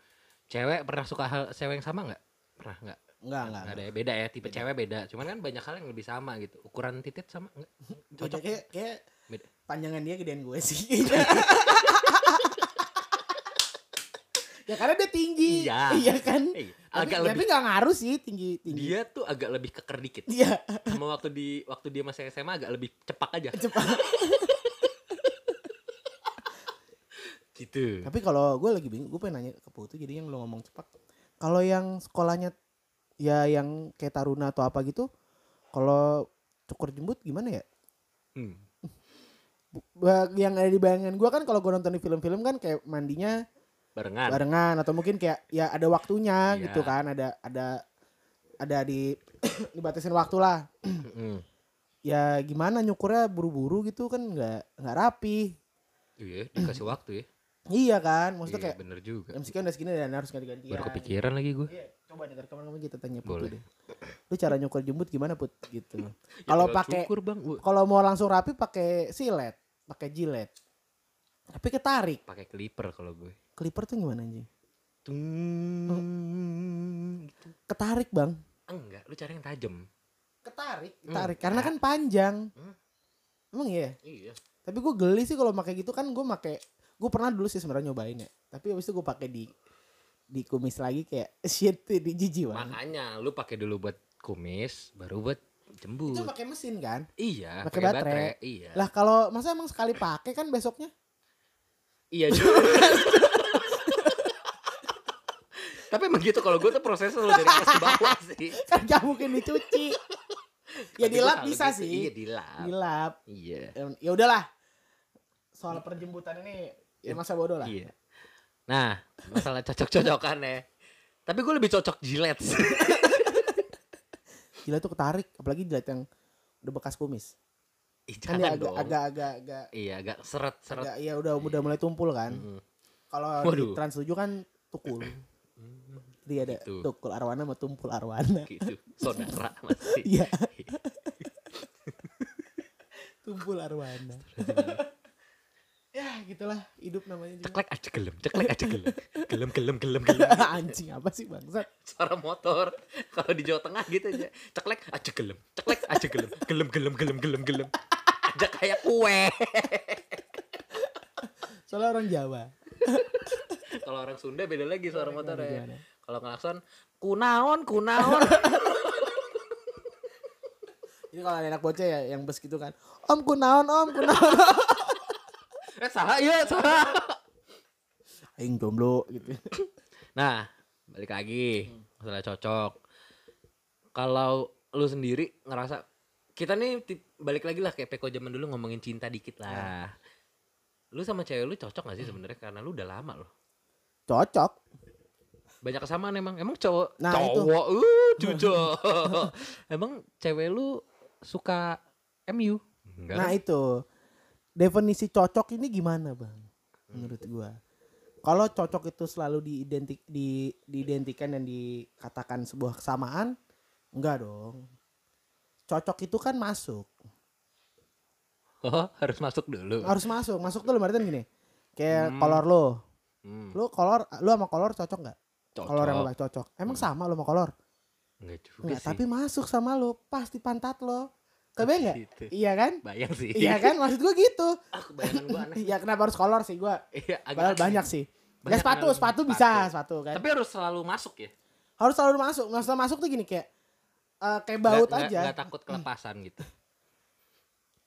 Speaker 1: Cewek pernah suka hal cewek yang sama nggak? Pernah nggak?
Speaker 2: nggak nggak
Speaker 1: Nggak ada ya, beda ya, tipe cewek beda. Cuman kan banyak hal yang lebih sama gitu. Ukuran titik sama *laughs* nggak?
Speaker 2: Cocok. Kayak, kayak
Speaker 1: Beda.
Speaker 2: panjangan dia gedean gue
Speaker 1: *laughs*
Speaker 2: sih. ya karena dia tinggi.
Speaker 1: *laughs* Iya.
Speaker 2: kan?
Speaker 1: Iya.
Speaker 2: Tapi,
Speaker 1: Agak
Speaker 2: tapi
Speaker 1: lebih-
Speaker 2: gak ngaruh sih tinggi tinggi.
Speaker 1: Dia tuh agak lebih keker dikit.
Speaker 2: Iya.
Speaker 1: Sama waktu di waktu dia masih SMA agak lebih cepak aja.
Speaker 2: *laughs* Cepat.
Speaker 1: Gitu.
Speaker 2: tapi kalau gue lagi bingung, gue pengen nanya ke Putu jadi yang lo ngomong cepat. Kalau yang sekolahnya ya yang kayak taruna atau apa gitu, kalau cukur jembut gimana ya?
Speaker 1: Hmm.
Speaker 2: Ba- Yang ada di bayangan gue kan kalau gue nonton di film-film kan kayak mandinya
Speaker 1: Barengan.
Speaker 2: barengan atau mungkin kayak ya ada waktunya
Speaker 1: Iya.
Speaker 2: gitu *clears throat* kan ada ada ada di dibatasin waktu lah
Speaker 1: Mm.
Speaker 2: ya gimana nyukurnya buru-buru gitu kan nggak nggak rapi
Speaker 1: Iya, dikasih waktu ya.
Speaker 2: iya kan maksudnya
Speaker 1: Iya,
Speaker 2: kayak
Speaker 1: bener juga.
Speaker 2: jam sekian udah segini dan harus ganti-gantian
Speaker 1: Baru kepikiran lagi gue.
Speaker 2: Iya, coba nih rekaman kita tanya put
Speaker 1: Boleh.
Speaker 2: deh lu cara nyukur jembut gimana put
Speaker 1: *laughs*
Speaker 2: gitu kalau
Speaker 1: tinggal
Speaker 2: pakai
Speaker 1: cukur, Bang. Gua
Speaker 2: kalau mau langsung rapi pakai silet pakai jilet tapi ketarik
Speaker 1: Pakai clipper kalau gue.
Speaker 2: clipper tuh gimana anjing
Speaker 1: Tung. Gitu. Ah,
Speaker 2: ketarik bang
Speaker 1: Enggak, lu cari yang tajam.
Speaker 2: ketarik
Speaker 1: Hmm.
Speaker 2: ketarik karena kan panjang
Speaker 1: Hmm.
Speaker 2: emang iya
Speaker 1: Iya.
Speaker 2: tapi gue geli sih kalau pakai gitu kan gue pakai gue pernah dulu sih sebenarnya nyobain ya tapi abis itu gue pakai di di kumis lagi kayak *laughs* shit di jijik banget
Speaker 1: Makanya lu pakai dulu buat kumis, baru buat jembut.
Speaker 2: itu pakai mesin kan
Speaker 1: Iya,
Speaker 2: pakai
Speaker 1: pakai
Speaker 2: baterai.
Speaker 1: baterai. Iya.
Speaker 2: lah kalau masa emang sekali pakai kan besoknya
Speaker 1: Iya juga. Tapi emang gitu kalau gue tuh prosesnya lu dari atas ke bawah sih.
Speaker 2: kan gak mungkin dicuci *laughs* ya
Speaker 1: Tapi
Speaker 2: dilap
Speaker 1: gua
Speaker 2: bisa
Speaker 1: kalau gitu- Iya
Speaker 2: sih
Speaker 1: dilap.
Speaker 2: dilap
Speaker 1: Iya.
Speaker 2: Ya- ya udahlah soal perjembutan ini ya masa bodoh lah
Speaker 1: Iya. Nah, masalah cocok-cocokan ya. Tapi gue lebih cocok jilet sih. *laughs*
Speaker 2: jilat tuh ketarik apalagi jilat yang udah bekas kumis
Speaker 1: Ih, Jangan
Speaker 2: kan dia agak
Speaker 1: dong.
Speaker 2: agak agak agak,
Speaker 1: Iya, agak seret-seret.
Speaker 2: agak- ya udah udah mulai tumpul kan
Speaker 1: Mm.
Speaker 2: kalau di
Speaker 1: Waduh.
Speaker 2: trans 7 kan tukul jadi ada
Speaker 1: Gitu.
Speaker 2: tukul arwana sama tumpul arwana
Speaker 1: Gitu.
Speaker 2: *laughs*
Speaker 1: Saudara masih. *laughs*
Speaker 2: iya tumpul arwana ya gitulah hidup namanya juga
Speaker 1: Ceklek aja gelem, ceklek aja gelem. Gelem, gelem, gelem, gelem.
Speaker 2: *laughs* anjing apa sih bangsat
Speaker 1: Suara motor. Kalau di Jawa Tengah gitu aja. Ceklek aja gelem, ceklek aja gelem. Gelem, gelem, gelem, gelem, gelem. Aja kayak kue.
Speaker 2: soalnya orang Jawa
Speaker 1: Kalau orang Sunda beda lagi suara motor ya.
Speaker 2: gimana?
Speaker 1: Kalau ngelakson, kunaon, kunaon.
Speaker 2: jadi kalau ada anak bocah ya yang bes gitu kan om kunaon om
Speaker 1: *laughs*
Speaker 2: kunaon
Speaker 1: eh, salah ya,
Speaker 2: iya.
Speaker 1: salah.
Speaker 2: aing jomblo gitu
Speaker 1: Nah, balik lagi masalah cocok. Kalau lu sendiri ngerasa kita nih tip- balik lagi lah kayak Peko zaman dulu ngomongin cinta dikit lah. Lu sama cewek lu cocok gak sih sebenarnya karena lu udah lama loh.
Speaker 2: cocok
Speaker 1: Banyak kesamaan emang. Emang cowok
Speaker 2: Nah, itu.
Speaker 1: cowok uh cucu. *laughs* emang cewek lu suka MU? Enggak.
Speaker 2: Nah itu definisi cocok ini gimana bang? Menurut gua, kalau cocok itu selalu diidentik di diidentikan dan dikatakan sebuah kesamaan, enggak dong. Cocok itu kan masuk,
Speaker 1: Oh, harus masuk dulu.
Speaker 2: harus masuk, masuk tuh berarti gini. Kayak
Speaker 1: Hmm.
Speaker 2: kolor lo,
Speaker 1: Hmm,
Speaker 2: lu kolor, lu sama kolor cocok nggak?
Speaker 1: cocok.
Speaker 2: Kolor yang lu pakai cocok. Emang sama lu sama kolor?
Speaker 1: Enggak juga
Speaker 2: Enggak,
Speaker 1: sih.
Speaker 2: tapi masuk sama lu, pasti pantat lo. Kebayang nggak?
Speaker 1: Gitu.
Speaker 2: Iya kan?
Speaker 1: Bayang sih.
Speaker 2: Iya
Speaker 1: *laughs*
Speaker 2: kan? Maksud gua gitu.
Speaker 1: Ah, bayangan gua aneh.
Speaker 2: Ya kenapa harus kolor sih gua?
Speaker 1: Iya, agak
Speaker 2: Padahal
Speaker 1: aneh.
Speaker 2: banyak sih. Ya
Speaker 1: Banyak
Speaker 2: sepatu,
Speaker 1: analog.
Speaker 2: sepatu bisa, sepatu kan.
Speaker 1: Tapi harus selalu masuk ya.
Speaker 2: Harus selalu masuk. Nggak usah masuk tuh gini kayak eh, kayak baut
Speaker 1: Nggak-
Speaker 2: aja.
Speaker 1: nggak- nggak takut kelepasan gitu.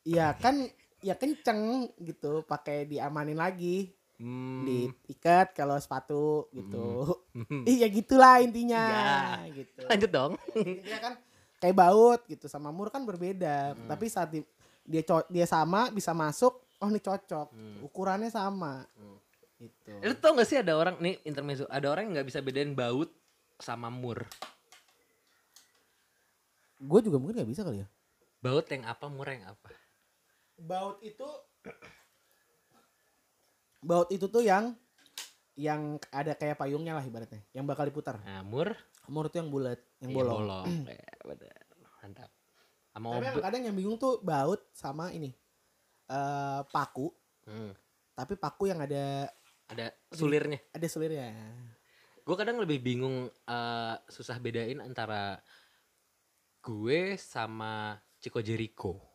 Speaker 2: Iya kan ya kenceng gitu, pakai diamanin lagi,
Speaker 1: Hmm.
Speaker 2: diikat kalau sepatu gitu. *laughs* Iya gitulah intinya
Speaker 1: Iya.
Speaker 2: gitu.
Speaker 1: Lanjut dong. *laughs*
Speaker 2: Intinya kan kayak baut gitu sama mur kan berbeda, tapi saat di- dia co- dia sama bisa masuk, oh ini cocok. Ukurannya sama. Gitu.
Speaker 1: Lu tau gak sih ada orang nih intermezzo, ada orang yang nggak bisa bedain baut sama mur.
Speaker 2: Gue juga mungkin nggak bisa kali ya.
Speaker 1: Baut yang apa, mur yang apa?
Speaker 2: baut itu baut itu tuh yang yang ada kayak payungnya lah ibaratnya yang bakal diputar
Speaker 1: Nah, mur
Speaker 2: menurut yang bulat yang
Speaker 1: iya,
Speaker 2: bolong Hmm.
Speaker 1: bolong. Ya, bener. Mantap. Sama
Speaker 2: tapi
Speaker 1: obe-
Speaker 2: yang kadang yang bingung tuh baut sama ini eh paku
Speaker 1: Hmm.
Speaker 2: tapi paku yang ada
Speaker 1: Ada sulirnya.
Speaker 2: ada sulirnya
Speaker 1: Gue kadang lebih bingung eh, susah bedain antara gue sama Chico Jericho.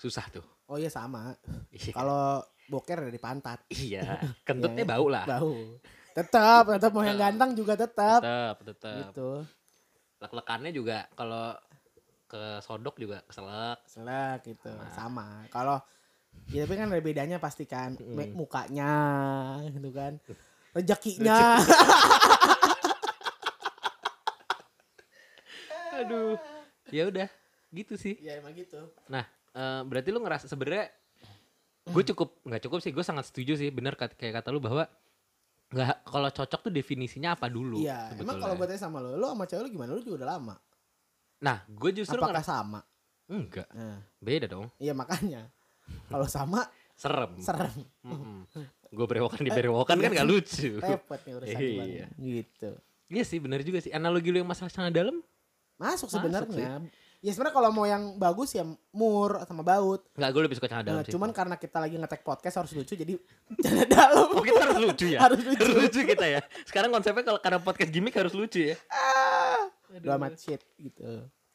Speaker 1: Susah tuh.
Speaker 2: oh iya sama
Speaker 1: Iya.
Speaker 2: kalau boker dari pantat
Speaker 1: Iya, kentutnya
Speaker 2: *laughs* Iya.
Speaker 1: bau lah.
Speaker 2: bau tetap tetap mau yang ganteng juga tetap
Speaker 1: Tetep, tetep.
Speaker 2: gitu
Speaker 1: Lek-lekannya juga kalau ke sodok juga keselak.
Speaker 2: selek gitu sama kalau ya tapi kan ada bedanya pasti kan Me- mukanya gitu kan rezekinya
Speaker 1: Aduh. Ya udah, gitu sih.
Speaker 2: *laughs* ya emang gitu
Speaker 1: Nah, eh, berarti lu ngerasa sebenarnya gue cukup nggak cukup sih, gue sangat setuju sih bener kat- kayak kata lu bahwa nggak kalau cocok tuh definisinya apa dulu?
Speaker 2: iya emang
Speaker 1: sebetulnya.
Speaker 2: kalau buatnya sama lo lo sama cewek lo gimana lo juga udah lama
Speaker 1: Nah, gue justru
Speaker 2: apakah
Speaker 1: ngerasa
Speaker 2: sama
Speaker 1: Enggak,
Speaker 2: Nah,
Speaker 1: beda dong.
Speaker 2: iya makanya kalau
Speaker 1: *laughs*
Speaker 2: sama
Speaker 1: Serem.
Speaker 2: serem,
Speaker 1: Gue berewokan
Speaker 2: Eh,
Speaker 1: di berewokan kan
Speaker 2: iya.
Speaker 1: gak lucu.
Speaker 2: *laughs* repot nih urusan gimana.
Speaker 1: Iya.
Speaker 2: gitu.
Speaker 1: Iya sih, benar juga sih. Analogi lu yang masalah sana dalam
Speaker 2: Masuk sebenarnya. Ya sebenarnya kalau mau yang bagus ya mur sama baut.
Speaker 1: Enggak, gue lebih suka sana dalam
Speaker 2: Nah,
Speaker 1: sih. *laughs*
Speaker 2: cuman karena kita lagi ngetek podcast harus lucu jadi *laughs* canda dalam.
Speaker 1: Oh, kita harus lucu ya.
Speaker 2: *laughs* Harus lucu.
Speaker 1: kita ya. Sekarang konsepnya kalau karena podcast gimmick harus lucu ya.
Speaker 2: Ah,
Speaker 1: Aduh.
Speaker 2: Drama shit gitu.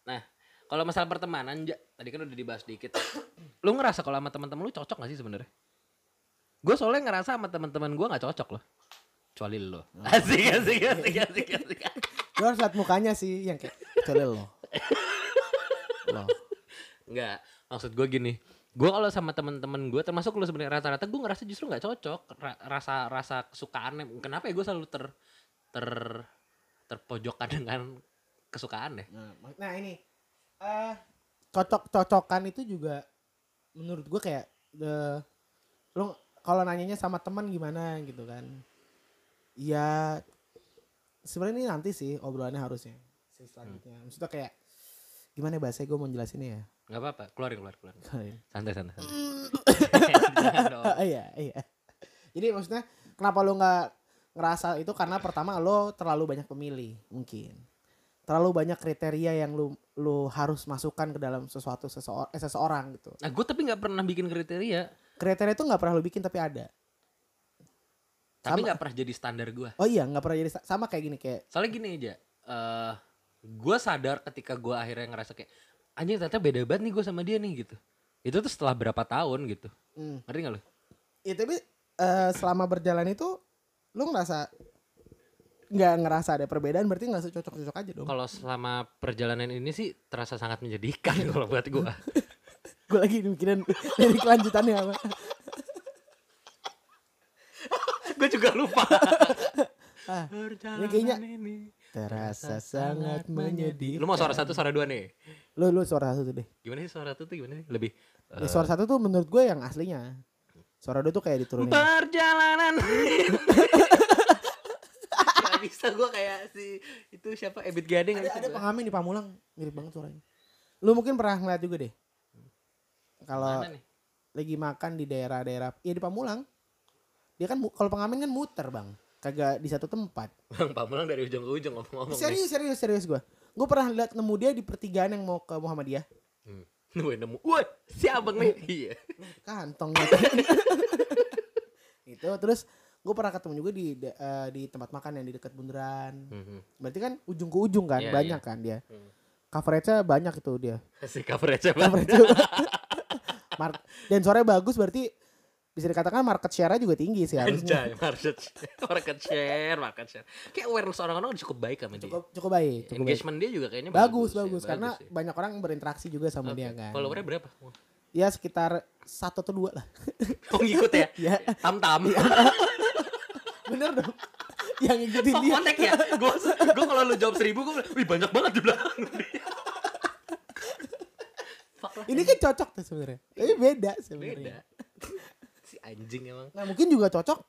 Speaker 1: Nah, kalau masalah pertemanan, Ja, tadi kan udah dibahas dikit. *clears throat* lu ngerasa kalau sama teman-teman lu cocok gak sih sebenarnya? Gue soalnya ngerasa sama teman-teman gue nggak cocok loh. Kecuali lo. Asik, asik, asik, asik, asik.
Speaker 2: Lu harus lihat mukanya sih yang kayak kecuali lo. Lo.
Speaker 1: Enggak, maksud gue gini. Gue kalau sama teman-teman gue, termasuk lu sebenarnya rata-rata gue ngerasa justru nggak cocok. Ra- rasa rasa kesukaan, kenapa ya gue selalu ter ter terpojokan dengan kesukaan deh.
Speaker 2: Nah, mak- nah ini eh cocok-cocokan itu juga menurut gue kayak the lu kalau nanyanya sama teman gimana gitu kan. Iya sebenarnya ini nanti sih obrolannya harusnya sesi selanjutnya. Maksudnya kayak gimana bahasa gue mau jelasinnya ya. *laughs*
Speaker 1: Nggak apa-apa, keluarin, keluarin, keluarin.
Speaker 2: Kalian.
Speaker 1: Santai, santai, santai.
Speaker 2: Ah, *laughs* iya, iya. Jadi maksudnya kenapa lu nggak ngerasa itu karena pertama lo terlalu banyak pemilih mungkin. Terlalu banyak kriteria yang lu lu harus masukkan ke dalam sesuatu seseor, eh, seseorang gitu.
Speaker 1: Nah, gue tapi nggak pernah bikin kriteria.
Speaker 2: Kriteria itu nggak pernah lu bikin tapi ada.
Speaker 1: tapi
Speaker 2: Sama.
Speaker 1: nggak pernah jadi standar gue
Speaker 2: Oh iya, nggak pernah jadi sa- sama kayak gini kayak
Speaker 1: soalnya gini aja eh gue sadar ketika gue akhirnya ngerasa kayak anjing ternyata beda banget nih gue sama dia nih gitu itu tuh setelah berapa tahun gitu
Speaker 2: hmm.
Speaker 1: ngerti gak lo
Speaker 2: Ya, tapi eh, selama berjalan itu lu ngerasa nggak ngerasa ada perbedaan berarti nggak cocok-cocok aja *laughs* dong.
Speaker 1: kalau selama perjalanan ini sih terasa sangat menjadikan *laughs* kalau buat gue
Speaker 2: Gue lagi mikirin *laughs* dari kelanjutannya *laughs* apa.
Speaker 1: gue juga lupa *laughs*
Speaker 2: Ah,
Speaker 1: perjalanan
Speaker 2: kayaknya-
Speaker 1: ini
Speaker 2: terasa sangat menyedihkan.
Speaker 1: lu mau suara satu suara dua nih
Speaker 2: Lu lu suara satu tuh deh.
Speaker 1: gimana sih suara satu tuh gimana sih lebih
Speaker 2: Ya,
Speaker 1: eh,
Speaker 2: suara satu tuh menurut gue yang aslinya. Suara dua tuh kayak diturunin.
Speaker 1: *laughs* perjalanan Gak bisa gue kayak si itu siapa Ebit Gading
Speaker 2: Ada, ada pengamen di Pamulang mirip banget suaranya. Lu mungkin pernah ngeliat juga deh. Kalau
Speaker 1: Mana nih?
Speaker 2: lagi makan di daerah-daerah, ya di Pamulang. Dia kan mu- kalau pengamen kan muter bang, kagak di satu tempat.
Speaker 1: Bang Pamulang dari ujung ke ujung ngomong-ngomong nih.
Speaker 2: Serius serius serius gue. Gue pernah lihat nemu dia di pertigaan yang mau ke Muhammadiyah.
Speaker 1: Hmm. Gue nemu, woi si abang
Speaker 2: *laughs*
Speaker 1: nih. Iya. *laughs*
Speaker 2: Kantong gitu. Gitu, terus gue pernah ketemu juga di da- eh, di tempat makan yang di dekat bundaran.
Speaker 1: Hmm.
Speaker 2: Berarti kan ujung ke ujung kan
Speaker 1: Iya,
Speaker 2: banyak
Speaker 1: iya.
Speaker 2: kan dia.
Speaker 1: Hmm.
Speaker 2: Coveragenya banyak itu dia. *laughs*
Speaker 1: Si coverage *laughs* apa?
Speaker 2: Coverage banyak. Mar- dan suaranya bagus berarti bisa dikatakan market share-nya juga tinggi sih
Speaker 1: *clears throat*
Speaker 2: harusnya.
Speaker 1: Anjay, market share, market share, market share. Kayak awareness orang-orang cukup baik sama dia.
Speaker 2: Cukup cukup baik, cukup baik.
Speaker 1: Engagement dia juga kayaknya
Speaker 2: Bagus, bagus,
Speaker 1: ya,
Speaker 2: karena
Speaker 1: ya.
Speaker 2: banyak orang berinteraksi juga sama
Speaker 1: Oke.
Speaker 2: dia kan.
Speaker 1: Followernya berapa?
Speaker 2: Ya sekitar satu atau dua lah. *laughs*
Speaker 1: Oh ngikut ya?
Speaker 2: Iya.
Speaker 1: Tam tam.
Speaker 2: Bener dong. *laughs* Yang ngikutin
Speaker 1: Oh *laughs*
Speaker 2: dia.
Speaker 1: kontak ya? Gue gue kalau lu jawab seribu gue, bilang, wih banyak banget di belakang. Fuck lah,
Speaker 2: Ini kan cocok tuh sebenarnya. Tapi beda
Speaker 1: Iya. beda.
Speaker 2: sebenarnya.
Speaker 1: Si anjing emang.
Speaker 2: Nah mungkin juga cocok.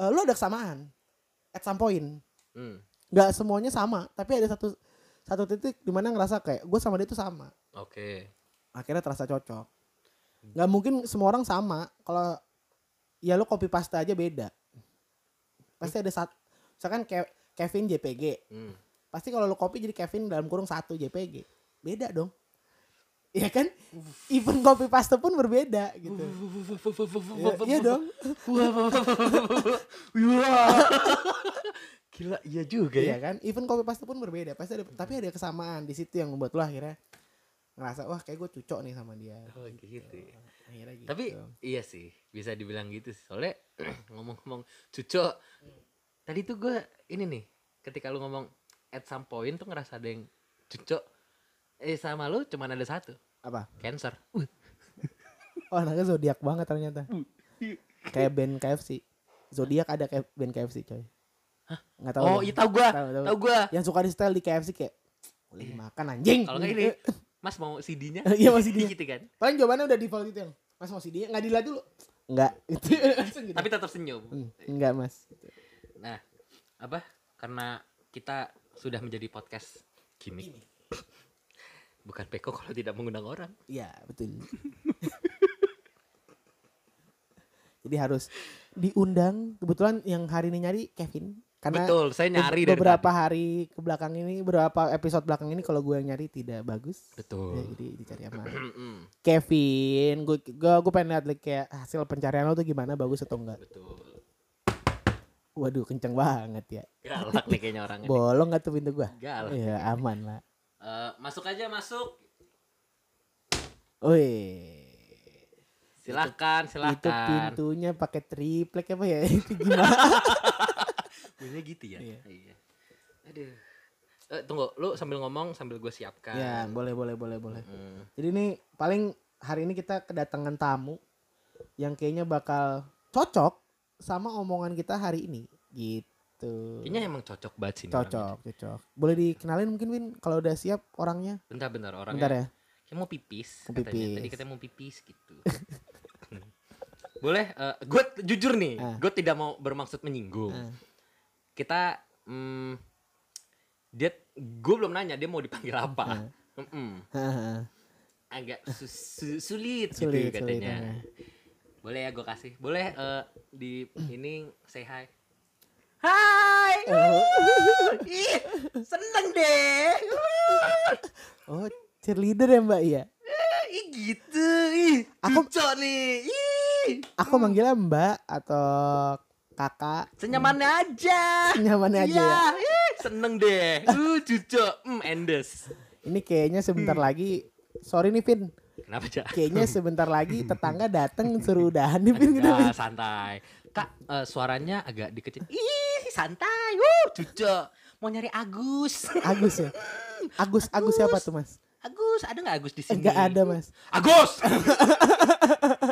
Speaker 2: eh, lo ada kesamaan. At some point.
Speaker 1: Hmm.
Speaker 2: nggak semuanya sama tapi ada satu satu titik dimana ngerasa kayak gue sama dia tuh sama
Speaker 1: Oke.
Speaker 2: akhirnya terasa cocok nggak mungkin semua orang sama kalau ya lu copy paste aja beda pasti ada satu misalkan Ke- Kevin JPG
Speaker 1: Hmm.
Speaker 2: pasti kalau lu copy jadi Kevin dalam kurung satu JPG beda dong Iya kan even copy paste pun berbeda gitu Ya- iya dong
Speaker 1: Gila, iya juga ya.
Speaker 2: Iya kan? Even copy paste pun berbeda. Pasti ada tapi ada kesamaan di situ yang membuat lo akhirnya ngerasa wah kayak gue cocok nih sama dia.
Speaker 1: Oh, gitu ya.
Speaker 2: Akhirnya gitu.
Speaker 1: Tapi iya sih, bisa dibilang gitu sih. Soalnya *clears throat* ngomong-ngomong cucu tadi tuh gue ini nih, ketika lu ngomong at some point tuh ngerasa ada yang cucu eh sama lu cuman ada satu,
Speaker 2: apa?
Speaker 1: cancer.
Speaker 2: Oh, anaknya zodiak banget ternyata. kayak band KFC. Zodiak ada kayak band KFC, coy. Hah? Enggak tahu.
Speaker 1: oh,
Speaker 2: lu.
Speaker 1: iya tahu gua.
Speaker 2: Tahu, tahu.
Speaker 1: Tahu gua.
Speaker 2: Yang suka di style di KFC kayak "Gua lagi makan anjing.
Speaker 1: Kalau nggak ini, Mas mau CD-nya?
Speaker 2: *laughs* Iya, mau CD-nya.
Speaker 1: gitu kan.
Speaker 2: Paling jawabannya udah default gitu yang. Mas mau CD enggak dilihat dulu. Enggak. Itu *laughs* langsung gitu.
Speaker 1: Tapi tetap senyum.
Speaker 2: Hmm, enggak, Mas.
Speaker 1: Nah, apa? Karena kita sudah menjadi podcast gimmick. Bukan peko kalau tidak mengundang orang.
Speaker 2: Iya, betul. *laughs* Jadi harus diundang. Kebetulan yang hari ini nyari Kevin karena
Speaker 1: Betul, saya nyari
Speaker 2: be-
Speaker 1: dari
Speaker 2: beberapa
Speaker 1: tadi.
Speaker 2: hari ke belakang ini, beberapa episode belakang ini kalau gue yang nyari tidak bagus.
Speaker 1: Betul.
Speaker 2: Ya, jadi dicari sama
Speaker 1: *clears throat* Mm-mm,
Speaker 2: Kevin. Gue gue gue pengen lihat like, kayak hasil pencarian lo tuh gimana bagus atau enggak.
Speaker 1: Betul.
Speaker 2: Waduh, kenceng
Speaker 1: *laughs*
Speaker 2: banget ya.
Speaker 1: Galak nih kayaknya orangnya. nih.
Speaker 2: Bolong nggak tuh pintu gua?
Speaker 1: Galak.
Speaker 2: Iya, aman lah.
Speaker 1: Eh, masuk aja masuk.
Speaker 2: Wih.
Speaker 1: Silahkan,
Speaker 2: Itu
Speaker 1: silahkan.
Speaker 2: pintunya pakai triplek apa ya? *laughs* Itu gimana?
Speaker 1: Bunyinya gitu ya.
Speaker 2: Iya.
Speaker 1: Iya. Aduh. Eh, tunggu, lu sambil ngomong sambil gue siapkan.
Speaker 2: ya, boleh boleh boleh boleh.
Speaker 1: Mm.
Speaker 2: Jadi ini paling hari ini kita kedatangan tamu yang kayaknya bakal cocok sama omongan kita hari ini gitu.
Speaker 1: Kayaknya emang cocok banget sih. ini orangnya.
Speaker 2: Cocok, cocok. Boleh dikenalin mungkin Win kalau udah siap orangnya.
Speaker 1: Bentar-bentar orangnya.
Speaker 2: Bentar ya. *laughs*
Speaker 1: Kayak mau pipis,
Speaker 2: Mau
Speaker 1: katanya. Tadi
Speaker 2: pipis.
Speaker 1: katanya mau pipis gitu. *laughs* Boleh, gue jujur nih,
Speaker 2: Ah.
Speaker 1: gue tidak mau bermaksud menyinggung.
Speaker 2: Ah.
Speaker 1: Kita, mm, dia, gue belum nanya dia mau dipanggil apa.
Speaker 2: Ah.
Speaker 1: Mm-mm.
Speaker 2: Hahaha.
Speaker 1: Agak su- su- sulit,
Speaker 2: Sulit, iya.
Speaker 1: gitu
Speaker 2: sulit,
Speaker 1: katanya. Boleh ya gue kasih. Boleh eh, di ini say hi. Hai,
Speaker 2: Oh.
Speaker 1: Wuh, ih, seneng deh. Wuh.
Speaker 2: oh, cheerleader ya Mbak iya.
Speaker 1: Ih gitu, ih
Speaker 2: Aku-
Speaker 1: cucok nih, ih
Speaker 2: Aku manggilnya Mbak atau Kakak.
Speaker 1: senyamannya aja,
Speaker 2: Senyamannya aja ya.
Speaker 1: Iya, ih, seneng deh, uh cucok, mm endes.
Speaker 2: Ini kayaknya sebentar lagi Sorry nih Vin,
Speaker 1: Kenapa cak?
Speaker 2: kayaknya sebentar lagi tetangga dateng suruh udahan nih Vin. Kenapa?
Speaker 1: Enggak, Ah, santai. Kak, eh, suaranya agak dikecil. Ih, santai. Uh, cucok. Mau nyari Agus.
Speaker 2: Agus ya. Agus Agus siapa tuh Mas?
Speaker 1: Agus, ada nggak Agus di sini?
Speaker 2: Enggak ada Mas. *laughs*
Speaker 1: Agus.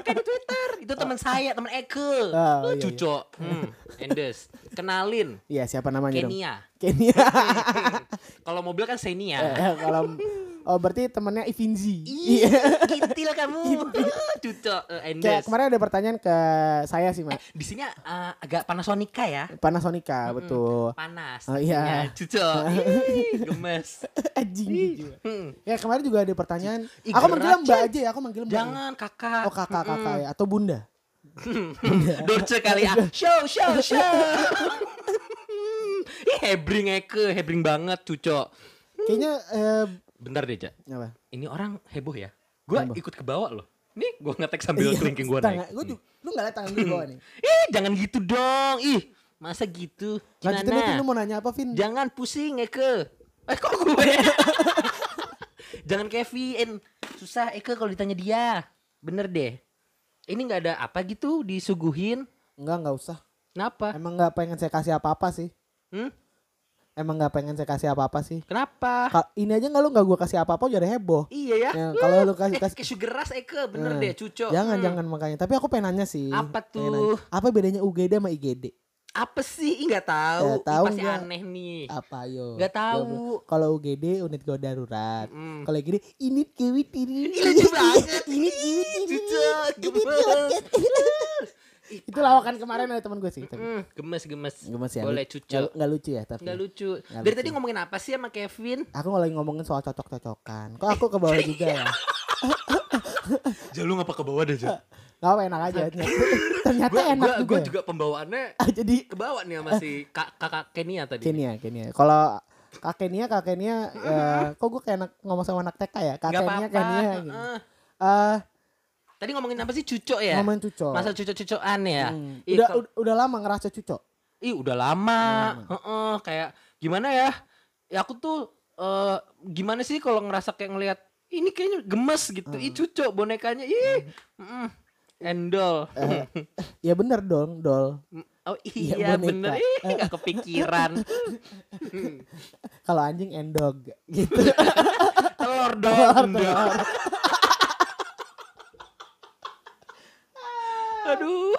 Speaker 1: kan di Twitter. Itu teman saya, teman Eke.
Speaker 2: Oh. Ah,
Speaker 1: Uh,
Speaker 2: iya, iya.
Speaker 1: cucok. Hmm, endes.
Speaker 2: *laughs*
Speaker 1: Kenalin,
Speaker 2: Iya siapa namanya dong?
Speaker 1: Kenia. *laughs*
Speaker 2: Kenia.
Speaker 1: Kalau mobil kan
Speaker 2: Eh,
Speaker 1: Xenia.
Speaker 2: eh, *laughs* Kalau oh berarti temannya Ivinzi.
Speaker 1: Iya, gitil
Speaker 2: *laughs*
Speaker 1: kamu. *laughs* Cucok eh, Endes.
Speaker 2: Kayak kemarin ada pertanyaan ke saya sih Mas.
Speaker 1: Di sini eh, agak Panasonica ya.
Speaker 2: Panasonica betul. *laughs*
Speaker 1: Panas.
Speaker 2: Oh,
Speaker 1: Ya,
Speaker 2: iya. *laughs*
Speaker 1: cucok. Ih, gemes.
Speaker 2: Anjing gitu.
Speaker 1: Hmm.
Speaker 2: Ya kemarin juga ada pertanyaan.
Speaker 1: Ih,
Speaker 2: Aku manggil
Speaker 1: geracep.
Speaker 2: Mbak aja ya, aku manggil Mbak.
Speaker 1: Jangan kakak.
Speaker 2: Oh kakak kakak ya atau Bunda.
Speaker 1: Dorce Hmm, kali ah. Show, show, show. Ih, hebring Eke, hebring banget cucok.
Speaker 2: Kayaknya eh,
Speaker 1: Bentar deh, Cak.
Speaker 2: apa?
Speaker 1: Ini orang heboh ya. Gua
Speaker 2: Heboh.
Speaker 1: ikut ke bawah loh. Nih, gua ngetek sambil kelingking gua
Speaker 2: tangan,
Speaker 1: naik.
Speaker 2: Iya. gua juga- lu nggak liat tangan gue
Speaker 1: *laughs*
Speaker 2: bawah nih.
Speaker 1: Ih, jangan gitu dong. Ih, masa gitu?
Speaker 2: Lanjutin deh, Vin, lu mau nanya apa Vin?
Speaker 1: Jangan pusing Eke. Eh kok gue? *laughs* Jangan Kevin. Susah Eke kalau ditanya dia. Bener deh. Ini nggak ada apa gitu disuguhin.
Speaker 2: Enggak, enggak usah.
Speaker 1: Kenapa?
Speaker 2: Emang nggak pengen saya kasih apa-apa sih.
Speaker 1: Hmm?
Speaker 2: Emang nggak pengen saya kasih apa-apa sih.
Speaker 1: Kenapa?
Speaker 2: Kal- ini aja nggak lu nggak gua kasih apa-apa udah heboh.
Speaker 1: Iya ya.
Speaker 2: Ya, kalau lu kasih-
Speaker 1: Eh,
Speaker 2: kasih-
Speaker 1: kayak sugar rush Eke, bener
Speaker 2: Hmm.
Speaker 1: deh, cucok.
Speaker 2: Jangan
Speaker 1: Hmm.
Speaker 2: jangan makanya. Tapi aku pengen nanya sih.
Speaker 1: Apa
Speaker 2: Pengen
Speaker 1: tuh?
Speaker 2: nanya. Apa bedanya UGD sama IGD?
Speaker 1: Apa sih? Ih, nggak tahu.
Speaker 2: Eh, tahu
Speaker 1: Ih, Pasti
Speaker 2: nggak?
Speaker 1: aneh nih.
Speaker 2: Apa yo?
Speaker 1: Nggak tahu.
Speaker 2: Kalau UGD unit gawat darurat.
Speaker 1: Mm.
Speaker 2: Kalau IGD ini kiwit
Speaker 1: *laughs*
Speaker 2: ini.
Speaker 1: Ih, Iya, lucu
Speaker 2: *laughs*
Speaker 1: banget.
Speaker 2: Ini kiwit ini.
Speaker 1: Cucok,
Speaker 2: Ini
Speaker 1: *laughs* gemes.
Speaker 2: kiwit, ini. Itu lawakan kemarin ada teman gue sih. tapi
Speaker 1: Hmm, gemes gemes.
Speaker 2: Gemes ya.
Speaker 1: Boleh
Speaker 2: Nggak-
Speaker 1: cucok.
Speaker 2: Nggak lucu ya tapi.
Speaker 1: Nggak lucu.
Speaker 2: Nggak
Speaker 1: Dari
Speaker 2: lucu.
Speaker 1: tadi ngomongin apa sih sama Kevin?
Speaker 2: Aku lagi ngomongin soal cocok-cocokan. Kok aku ke
Speaker 1: *laughs*
Speaker 2: bawah juga ya?
Speaker 1: Iya. Jalur ngapa ke bawah deh, Jal?
Speaker 2: Gak apa enak
Speaker 1: *laughs*
Speaker 2: aja. Eh, Ternyata
Speaker 1: Gua
Speaker 2: enak
Speaker 1: gua
Speaker 2: juga.
Speaker 1: gua
Speaker 2: ya.
Speaker 1: juga pembawaannya
Speaker 2: *laughs* Jadi
Speaker 1: kebawa nih sama si kak, kakak Kenia tadi.
Speaker 2: Kenia, Kenia. Kalau Kak Kenia, Kak Kenia, eh, kok gue kayak anak, ngomong sama anak TK ya? Kak
Speaker 1: Nggak
Speaker 2: Kenia,
Speaker 1: apa-apa.
Speaker 2: Kenia.
Speaker 1: heeh.
Speaker 2: Gitu. Eh,
Speaker 1: Tadi ngomongin apa sih cucok ya?
Speaker 2: Ngomongin cucok.
Speaker 1: Masa cucok-cucokan ya?
Speaker 2: hmm,
Speaker 1: Ih,
Speaker 2: udah,
Speaker 1: kal-
Speaker 2: ud- udah lama ngerasa cucok. *laughs*
Speaker 1: ih, udah lama. Heeh, kayak gimana ya? Ya aku tuh eh, gimana sih kalau ngerasa kayak ngelihat ini kayaknya gemes gitu. Ih cucok bonekanya. Ih. mm, Endol.
Speaker 2: Ya bener dong, dol.
Speaker 1: *laughs* Oh
Speaker 2: iya,
Speaker 1: Eh. iya
Speaker 2: boneka.
Speaker 1: bener. Ih, nggak *laughs* kepikiran.
Speaker 2: Kalau anjing endog *laughs* gitu.
Speaker 1: Telur dong. *laughs* endol. Aduh.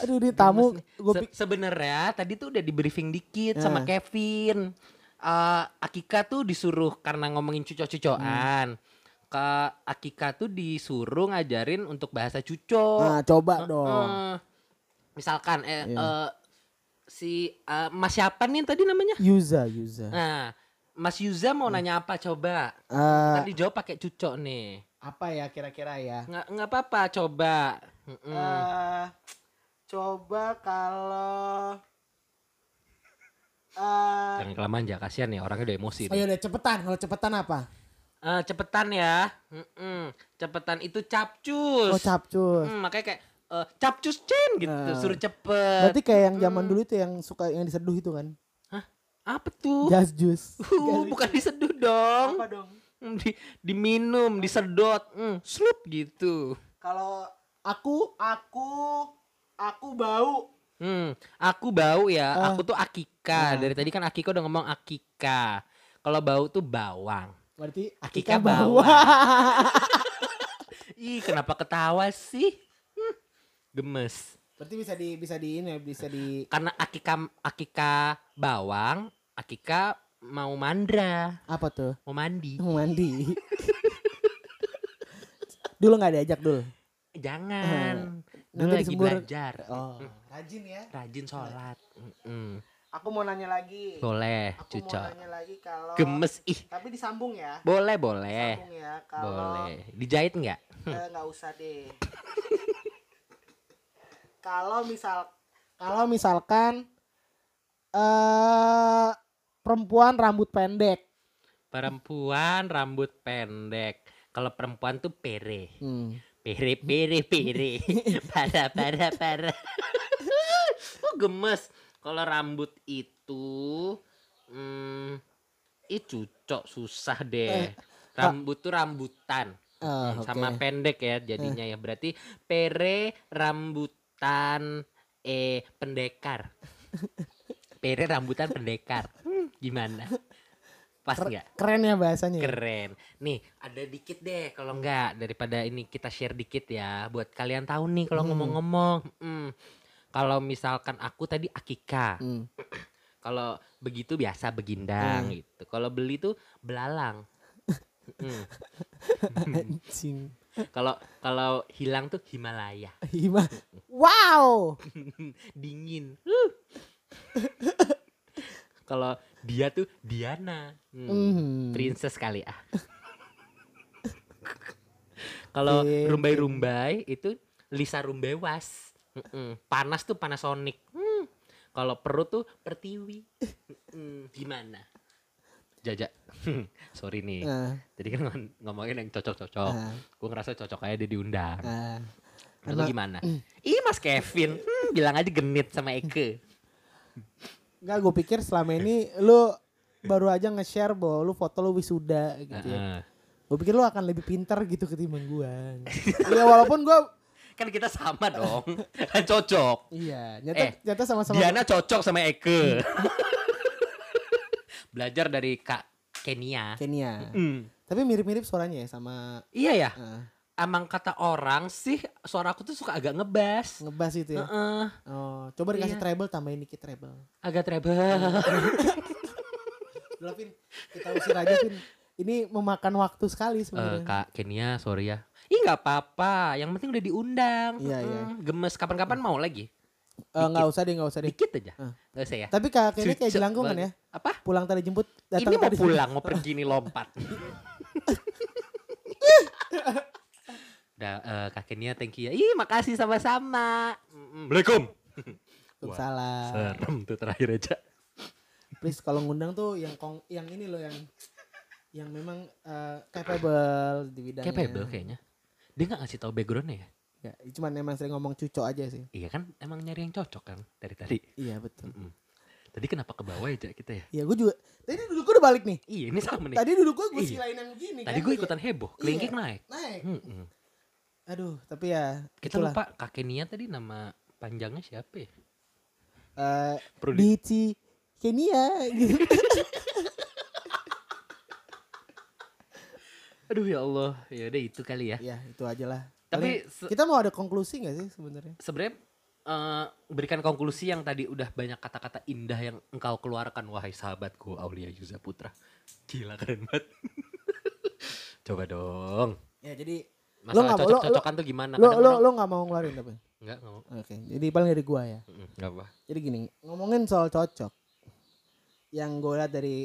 Speaker 2: Aduh, di tamu gue
Speaker 1: Se- sebenarnya tadi tuh udah di briefing dikit
Speaker 2: Eh.
Speaker 1: sama Kevin. Eh, Akika tuh disuruh karena ngomongin cucok-cucokan.
Speaker 2: Hmm.
Speaker 1: Ke Akika tuh disuruh ngajarin untuk bahasa cucok.
Speaker 2: Nah, coba Ah, dong.
Speaker 1: Eh, misalkan eh,
Speaker 2: Iya.
Speaker 1: eh, si eh, Mas siapa nih tadi namanya?
Speaker 2: Yuza, Yuza.
Speaker 1: Nah, Mas Yuza mau nanya apa coba?
Speaker 2: Hmm. Eh,
Speaker 1: Kan dijawab pakai cucok nih.
Speaker 2: apa ya kira-kira ya?
Speaker 1: Nggak nggak apa-apa coba. Mm-mm.
Speaker 2: Eh, coba kalau eh
Speaker 1: Jangan kelamaan ya, kasihan nih orangnya udah emosi. nih.
Speaker 2: ayo udah cepetan. Kalau cepetan apa?
Speaker 1: Eh, cepetan ya. Mm-mm. Cepetan itu capcus.
Speaker 2: Oh, capcus.
Speaker 1: Mm, makanya kayak eh, capcus Cin gitu,
Speaker 2: Nah.
Speaker 1: suruh cepet.
Speaker 2: Berarti kayak yang zaman dulu itu yang suka yang diseduh itu kan?
Speaker 1: Apa tuh? *laughs*
Speaker 2: Jas jus. *laughs*
Speaker 1: Uh, bukan diseduh dong.
Speaker 2: dong?
Speaker 1: Mm, Di, diminum, disedot, mm, slup gitu.
Speaker 2: Kalau aku aku aku bau.
Speaker 1: Hmm, aku bau ya.
Speaker 2: Ah.
Speaker 1: Aku tuh akika.
Speaker 2: Nah.
Speaker 1: Dari tadi kan Akiko udah ngomong akika. Kalau bau tuh bawang.
Speaker 2: Berarti
Speaker 1: Akika
Speaker 2: akika bau.
Speaker 1: *laughs* Ih, kenapa ketawa sih? Hmm, Gemes.
Speaker 2: *laughs* Berarti bisa di bisa di ini bisa di
Speaker 1: Karena akika akika bawang, akika mau mandra,
Speaker 2: apa tuh?
Speaker 1: mau mandi.
Speaker 2: Mau mandi. *laughs* dulu nggak diajak dulu.
Speaker 1: Jangan. Dulu
Speaker 2: Hmm. Nanti
Speaker 1: lagi
Speaker 2: disembur.
Speaker 1: belajar.
Speaker 2: Oh, rajin ya.
Speaker 1: Rajin sholat. Mm-mm.
Speaker 2: Aku mau nanya lagi.
Speaker 1: Boleh,
Speaker 2: Aku mau
Speaker 1: cucok.
Speaker 2: nanya lagi kalau
Speaker 1: Gemes ih.
Speaker 2: tapi disambung ya.
Speaker 1: Boleh, boleh.
Speaker 2: Disambung ya kalau
Speaker 1: Boleh. Dijahit nggak?
Speaker 2: eh, nggak usah deh. kalau misal kalau misalkan eh perempuan rambut pendek.
Speaker 1: Perempuan rambut pendek. Kalau perempuan tuh pere. Pere, pere, pere. *laughs* Parah, parah, parah. Oh, gemes. Kalau rambut itu... Hmm, ih cucok susah deh. Rambut tuh rambutan.
Speaker 2: Oh,
Speaker 1: Hmm, Sama pendek ya jadinya ya. Berarti pere rambutan eh *laughs* pendekar. Pere rambutan pendekar. Hmm, Gimana? Pas nggak?
Speaker 2: Keren ya bahasanya. ya?
Speaker 1: Keren. Nih, ada dikit deh kalau enggak daripada ini kita share dikit ya buat kalian tahu nih kalau ngomong-ngomong. Mm. Kalau misalkan aku tadi akika.
Speaker 2: Hmm.
Speaker 1: Kalau begitu biasa begindang gitu. Kalau beli tuh belalang. Mm. Hmm.
Speaker 2: Anjing.
Speaker 1: Kalau kalau hilang tuh Himalaya.
Speaker 2: Hima. Wow.
Speaker 1: Dingin. Huh. kalau dia tuh Diana. Mm.
Speaker 2: Mhm.
Speaker 1: Princess kali ah. *laughs* Kalau
Speaker 2: Oke,
Speaker 1: rumbai-rumbai itu Lisa Rumbewas. Mm-mm. Panas tuh Panasonic. Hmm. Kalau perut tuh Pertiwi. Mm-mm. Gimana? Jajak. *laughs* Sorry nih.
Speaker 2: Ah,
Speaker 1: Tadi kan ngom- ngomongin yang cocok-cocok.
Speaker 2: ah,
Speaker 1: Gue ngerasa cocok aja dia diundang.
Speaker 2: ah. Hmm.
Speaker 1: Lalu gimana? Ih Mas Kevin, Hmm, bilang aja genit sama
Speaker 2: *laughs*
Speaker 1: Eke.
Speaker 2: Enggak, gue pikir selama ini lu baru aja nge-share bahwa lu foto lu wisuda gitu
Speaker 1: Heeh.
Speaker 2: ya. Gue pikir lu akan lebih pintar gitu ketimbang gue. ya walaupun gue
Speaker 1: Kan kita sama dong. *laughs* Kan cocok.
Speaker 2: iya, nyata
Speaker 1: Eh,
Speaker 2: nyata sama-sama
Speaker 1: Diana cocok sama Hmm. Eke. *laughs* Belajar dari Kak Kenia.
Speaker 2: Kenia.
Speaker 1: Mm.
Speaker 2: Tapi mirip-mirip suaranya ya sama
Speaker 1: Iya ya,
Speaker 2: ah,
Speaker 1: emang kata orang sih suara aku tuh suka agak ngebas.
Speaker 2: ngebas gitu ya.
Speaker 1: Heeh,
Speaker 2: Oh, coba dikasih
Speaker 1: Iya.
Speaker 2: treble tambahin dikit treble.
Speaker 1: agak treble.
Speaker 2: Udah Vin, kita usir aja Vin. Ini memakan waktu sekali
Speaker 1: Eh,
Speaker 2: sebenarnya.
Speaker 1: Kak Kenia, sorry ya. Ih nggak apa-apa, yang penting udah diundang.
Speaker 2: Iya, iya.
Speaker 1: Mm, Gemes kapan-kapan mau lagi.
Speaker 2: Eh, Nggak usah deh, nggak usah deh.
Speaker 1: Dikit aja.
Speaker 2: Ah.
Speaker 1: Nggak usah ya.
Speaker 2: Tapi kakak ini kayak
Speaker 1: Cucok
Speaker 2: jelangkungan ya.
Speaker 1: banget. Apa?
Speaker 2: Pulang tadi jemput, datang
Speaker 1: Ini mau
Speaker 2: tadi jemput.
Speaker 1: pulang, mau pergi nih lompat. Udah, eh, Kak Kenia thank you ya. Ih, makasih sama-sama. Assalamualaikum. Wah,
Speaker 2: Salah.
Speaker 1: Serem tuh terakhir aja.
Speaker 2: please kalau ngundang tuh yang kong yang ini loh yang yang memang eh, capable di bidangnya
Speaker 1: Capable kayaknya. Dia gak ngasih tahu backgroundnya ya?
Speaker 2: Ya, cuman emang sering ngomong cucok aja sih
Speaker 1: Iya kan, emang nyari yang cocok kan dari tadi.
Speaker 2: iya betul
Speaker 1: Mm-mm. Tadi kenapa ke bawah aja kita ya?
Speaker 2: iya gue juga tadi duduk gue udah balik nih
Speaker 1: Iya, ini sama nih.
Speaker 2: tadi duduk gue gue
Speaker 1: Iya.
Speaker 2: silain yang gini
Speaker 1: Tadi
Speaker 2: kan,
Speaker 1: gue
Speaker 2: kayak
Speaker 1: ikutan heboh, kelingking naik.
Speaker 2: naik
Speaker 1: Mm-mm.
Speaker 2: aduh tapi ya
Speaker 1: Kita
Speaker 2: itulah
Speaker 1: lupa Kak Kenia tadi nama panjangnya siapa ya?
Speaker 2: Eh,
Speaker 1: Perlu di-
Speaker 2: Dici Kenia
Speaker 1: *laughs*
Speaker 2: gitu.
Speaker 1: Aduh ya Allah, ya udah itu kali ya.
Speaker 2: ya itu aja lah
Speaker 1: Tapi
Speaker 2: Paling-
Speaker 1: se-
Speaker 2: kita mau ada konklusi gak sih sebenarnya
Speaker 1: sebenarnya eh, berikan konklusi yang tadi udah banyak kata-kata indah yang engkau keluarkan wahai sahabatku Aulia Yuza Putra. Gila keren banget. *laughs* Coba dong.
Speaker 2: ya jadi Lo
Speaker 1: Masalah
Speaker 2: nggak- lo-
Speaker 1: cocok-cocokan tuh gimana?
Speaker 2: lo
Speaker 1: Kadang
Speaker 2: lo
Speaker 1: orang-
Speaker 2: lo nggak mau ngeluarin tapi oke
Speaker 1: Nggak, nggak mau.
Speaker 2: jadi paling dari gua ya
Speaker 1: Mm-mm, nggak apa.
Speaker 2: Jadi gini, ngomongin soal cocok. Yang gue lihat dari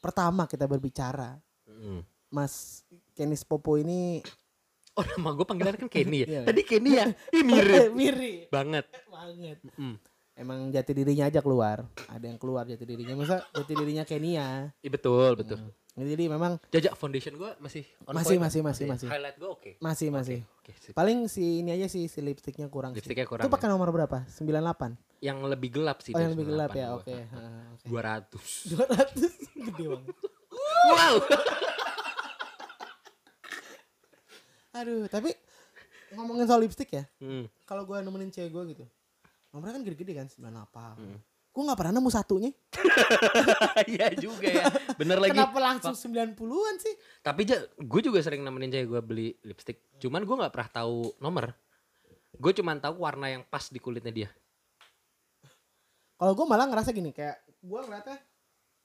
Speaker 2: pertama kita berbicara
Speaker 1: Mm.
Speaker 2: Mas Kenis Popo ini
Speaker 1: Oh nama gue panggilan kan Kenny
Speaker 2: *laughs*
Speaker 1: ya.
Speaker 2: Iya.
Speaker 1: Tadi Kenny ya. Ih mirip
Speaker 2: *laughs* mirip
Speaker 1: banget.
Speaker 2: banget.
Speaker 1: Mm.
Speaker 2: Emang jati dirinya aja keluar. Ada yang keluar jati dirinya. Masa jati dirinya Kenia.
Speaker 1: Iya betul betul.
Speaker 2: Jadi memang
Speaker 1: Jajak foundation gue masih on
Speaker 2: Masih,
Speaker 1: point.
Speaker 2: masih, masih, masih.
Speaker 1: Highlight gue oke.
Speaker 2: masih masih.
Speaker 1: Oke, sip.
Speaker 2: Paling si ini aja sih si lipstiknya kurang. sih.
Speaker 1: Lipstiknya kurang.
Speaker 2: Itu pakai nomor berapa? 98.
Speaker 1: ya. Yang lebih gelap sih.
Speaker 2: Oh, yang lebih gelap ya. Oke. heeh, oke.
Speaker 1: 200.
Speaker 2: 200 *laughs* gede banget.
Speaker 1: *laughs* Wow.
Speaker 2: Aduh, tapi ngomongin soal lipstik ya.
Speaker 1: Hmm.
Speaker 2: Kalau gua nemenin cewek gua gitu. Nomornya kan gede-gede kan 98.
Speaker 1: Hmm.
Speaker 2: Gua nggak pernah nemu satunya.
Speaker 1: *laughs* Iya juga ya. Bener lagi.
Speaker 2: Kenapa langsung 90-an sih?
Speaker 1: Tapi ja, gue juga sering nemenin cewek gue beli lipstick. Cuman gue nggak pernah tahu nomor. Gue cuman tahu warna yang pas di kulitnya dia.
Speaker 2: Kalau gue malah ngerasa gini kayak gue ngeliatnya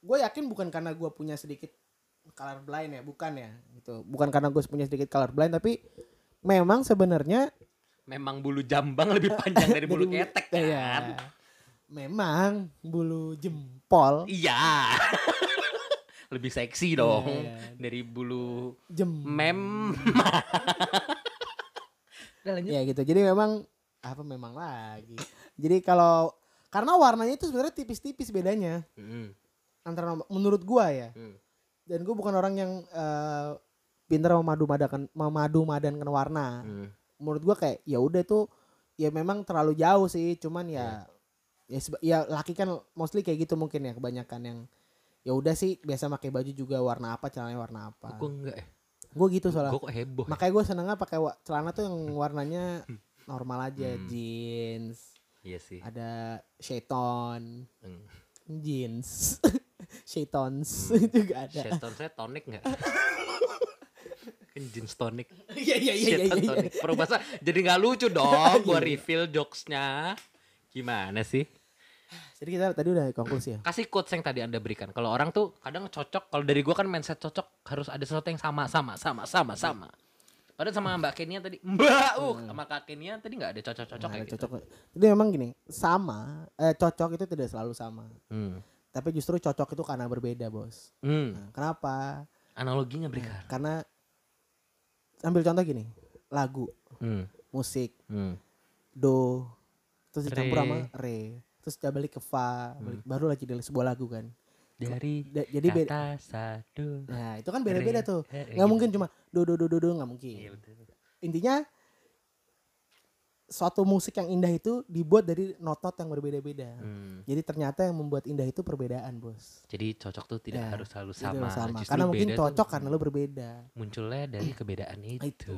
Speaker 2: gue yakin bukan karena gue punya sedikit color blind ya bukan ya gitu bukan karena gue punya sedikit color blind tapi memang sebenarnya
Speaker 1: Memang bulu jambang lebih panjang
Speaker 2: *laughs*
Speaker 1: dari bulu
Speaker 2: Dari
Speaker 1: ketek
Speaker 2: Iya.
Speaker 1: kan.
Speaker 2: memang bulu jempol
Speaker 1: Iya. *laughs* lebih seksi dong
Speaker 2: Iya. Hmm.
Speaker 1: dari bulu
Speaker 2: jem *laughs*
Speaker 1: mem. Udah lanjut.
Speaker 2: ya gitu jadi memang apa memang lagi jadi kalau karena warnanya itu sebenarnya tipis-tipis bedanya
Speaker 1: Mm,
Speaker 2: antara nomor- menurut gua ya
Speaker 1: mm.
Speaker 2: dan gue bukan orang yang eh, pintar memadu madakan memadu madankan warna
Speaker 1: Hmm.
Speaker 2: menurut gua kayak ya udah tuh ya memang terlalu jauh sih cuman
Speaker 1: Hmm.
Speaker 2: ya ya seba- ya laki kan mostly kayak gitu mungkin ya kebanyakan yang ya udah sih biasa pakai baju juga warna apa celananya warna apa
Speaker 1: Gue enggak ya.
Speaker 2: gue gitu
Speaker 1: Gue
Speaker 2: soalnya
Speaker 1: kok heboh. ya?
Speaker 2: makanya gue senengnya pakai wa- celana tuh yang warnanya normal aja jeans
Speaker 1: Hmm. Iya sih.
Speaker 2: ada sheton
Speaker 1: Hmm.
Speaker 2: jeans *laughs* shetons *laughs* juga ada
Speaker 1: Seton saya tonik
Speaker 2: *laughs*
Speaker 1: enggak? kan jeans tonic.
Speaker 2: iya *laughs* iya iya iya
Speaker 1: Seton
Speaker 2: iya
Speaker 1: tonic. Perubahasa jadi nggak lucu dong
Speaker 2: *laughs*
Speaker 1: gua reveal jokesnya. Gimana sih?
Speaker 2: jadi kita tadi udah konklusi ya
Speaker 1: Kasih quotes yang tadi Anda berikan. Kalau orang tuh kadang cocok, kalau dari gua kan mindset cocok harus ada sesuatu yang sama sama sama sama sama. Padahal sama Mbak Kenia tadi, Mbak uh, sama Kak Kenia tadi nggak ada cocok-cocok
Speaker 2: Nah,
Speaker 1: kayak gitu.
Speaker 2: Hmm. cocok jadi memang gini sama eh, cocok itu tidak selalu sama
Speaker 1: Hmm.
Speaker 2: tapi justru cocok itu karena berbeda bos
Speaker 1: Hmm.
Speaker 2: Nah, kenapa
Speaker 1: Analoginya berikan.
Speaker 2: karena ambil contoh gini lagu
Speaker 1: Hmm.
Speaker 2: musik
Speaker 1: Hmm.
Speaker 2: do terus dicampur
Speaker 1: Re.
Speaker 2: sama re terus udah balik ke fa balik- baru lagi dari sebuah lagu kan
Speaker 1: Dari
Speaker 2: Da- jadi beda
Speaker 1: kata satu.
Speaker 2: nah itu kan
Speaker 1: Re.
Speaker 2: beda-beda tuh
Speaker 1: Re, re,
Speaker 2: nggak
Speaker 1: gitu.
Speaker 2: mungkin cuma do do do do do nggak mungkin
Speaker 1: Iya, betul.
Speaker 2: intinya suatu musik yang indah itu dibuat dari not-not yang berbeda-beda
Speaker 1: Hmm.
Speaker 2: jadi ternyata yang membuat indah itu perbedaan bos
Speaker 1: Jadi cocok tuh tidak
Speaker 2: Ya,
Speaker 1: harus selalu
Speaker 2: Jadi
Speaker 1: sama.
Speaker 2: sama.
Speaker 1: Justru
Speaker 2: karena mungkin
Speaker 1: beda tuh
Speaker 2: cocok karena lo berbeda
Speaker 1: munculnya dari kebedaan itu. Iya.
Speaker 2: Itu.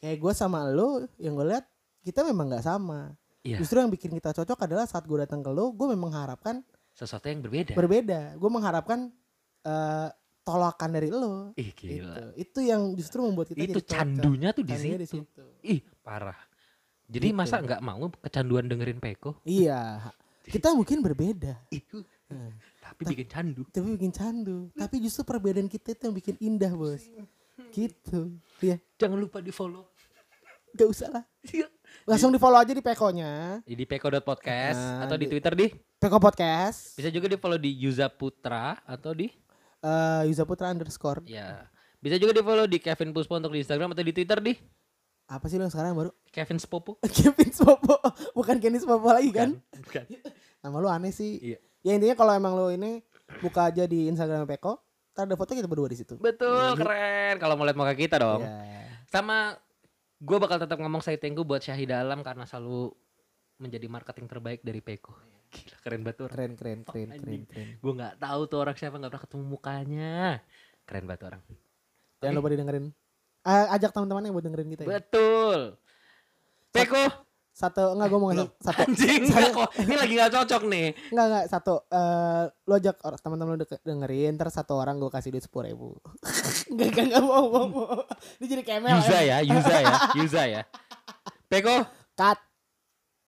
Speaker 2: kayak gue sama lo yang gue lihat kita memang nggak sama
Speaker 1: Iya,
Speaker 2: justru yang bikin kita cocok adalah saat gue datang ke lo gue memang mengharapkan
Speaker 1: sesuatu yang berbeda.
Speaker 2: berbeda gue mengharapkan eh, tolakan dari lo
Speaker 1: Ih
Speaker 2: itu
Speaker 1: gila.
Speaker 2: itu yang justru membuat kita
Speaker 1: Itu,
Speaker 2: jadi cocok.
Speaker 1: candunya tuh di
Speaker 2: Candunya
Speaker 1: situ. Ih, parah. Jadi
Speaker 2: Gitu.
Speaker 1: masa nggak mau kecanduan dengerin Peko?
Speaker 2: iya kita mungkin berbeda
Speaker 1: Ih,
Speaker 2: Nah,
Speaker 1: tapi bikin candu.
Speaker 2: tapi bikin candu tapi justru perbedaan kita itu yang bikin indah bos gitu ya
Speaker 1: Jangan lupa di-follow. Iya.
Speaker 2: gak usah lah langsung di follow aja di pekonya
Speaker 1: Di peko.podcast
Speaker 2: Nah,
Speaker 1: atau di
Speaker 2: di-
Speaker 1: Twitter di
Speaker 2: peko podcast
Speaker 1: bisa juga di-follow di Yuza Putra atau di
Speaker 2: eh Yuza Putra underscore
Speaker 1: ya. Bisa juga di-follow di Kevin Puspo untuk di Instagram atau di Twitter di
Speaker 2: apa sih lo yang sekarang baru *laughs*
Speaker 1: Kevin Spopo.
Speaker 2: Kevin Spopo bukan Kenny Spopo lagi kan
Speaker 1: Bukan.
Speaker 2: nama lu aneh sih
Speaker 1: Iya.
Speaker 2: ya intinya kalau emang lu ini buka aja di Instagram Peko ntar ada foto kita berdua di situ
Speaker 1: Betul, keren. Kalau mau lihat muka kita dong.
Speaker 2: Iya.
Speaker 1: Sama gue bakal tetap ngomong saya thank you buat Syahida Alam karena selalu menjadi marketing terbaik dari Peko. *laughs* Gila keren banget tuh orang.
Speaker 2: keren keren keren keren keren
Speaker 1: Gue nggak tahu tuh orang siapa nggak pernah ketemu mukanya. Keren banget tuh orang.
Speaker 2: jangan lupa didengerin Eh, ajak teman-temannya buat dengerin kita ya.
Speaker 1: Betul. Peko
Speaker 2: satu enggak gue mau ngasih
Speaker 1: belum.
Speaker 2: satu
Speaker 1: anjing
Speaker 2: saya-
Speaker 1: Peko. Ini lagi nggak cocok nih.
Speaker 2: enggak enggak satu Eh, lo ajak orang teman-teman lo deke- dengerin ntar satu orang gue kasih duit sepuluh ribu enggak enggak enggak mau mau mau dia jadi kemel
Speaker 1: Yuza ya, Yuza ya, Yuza ya. Peko,
Speaker 2: cut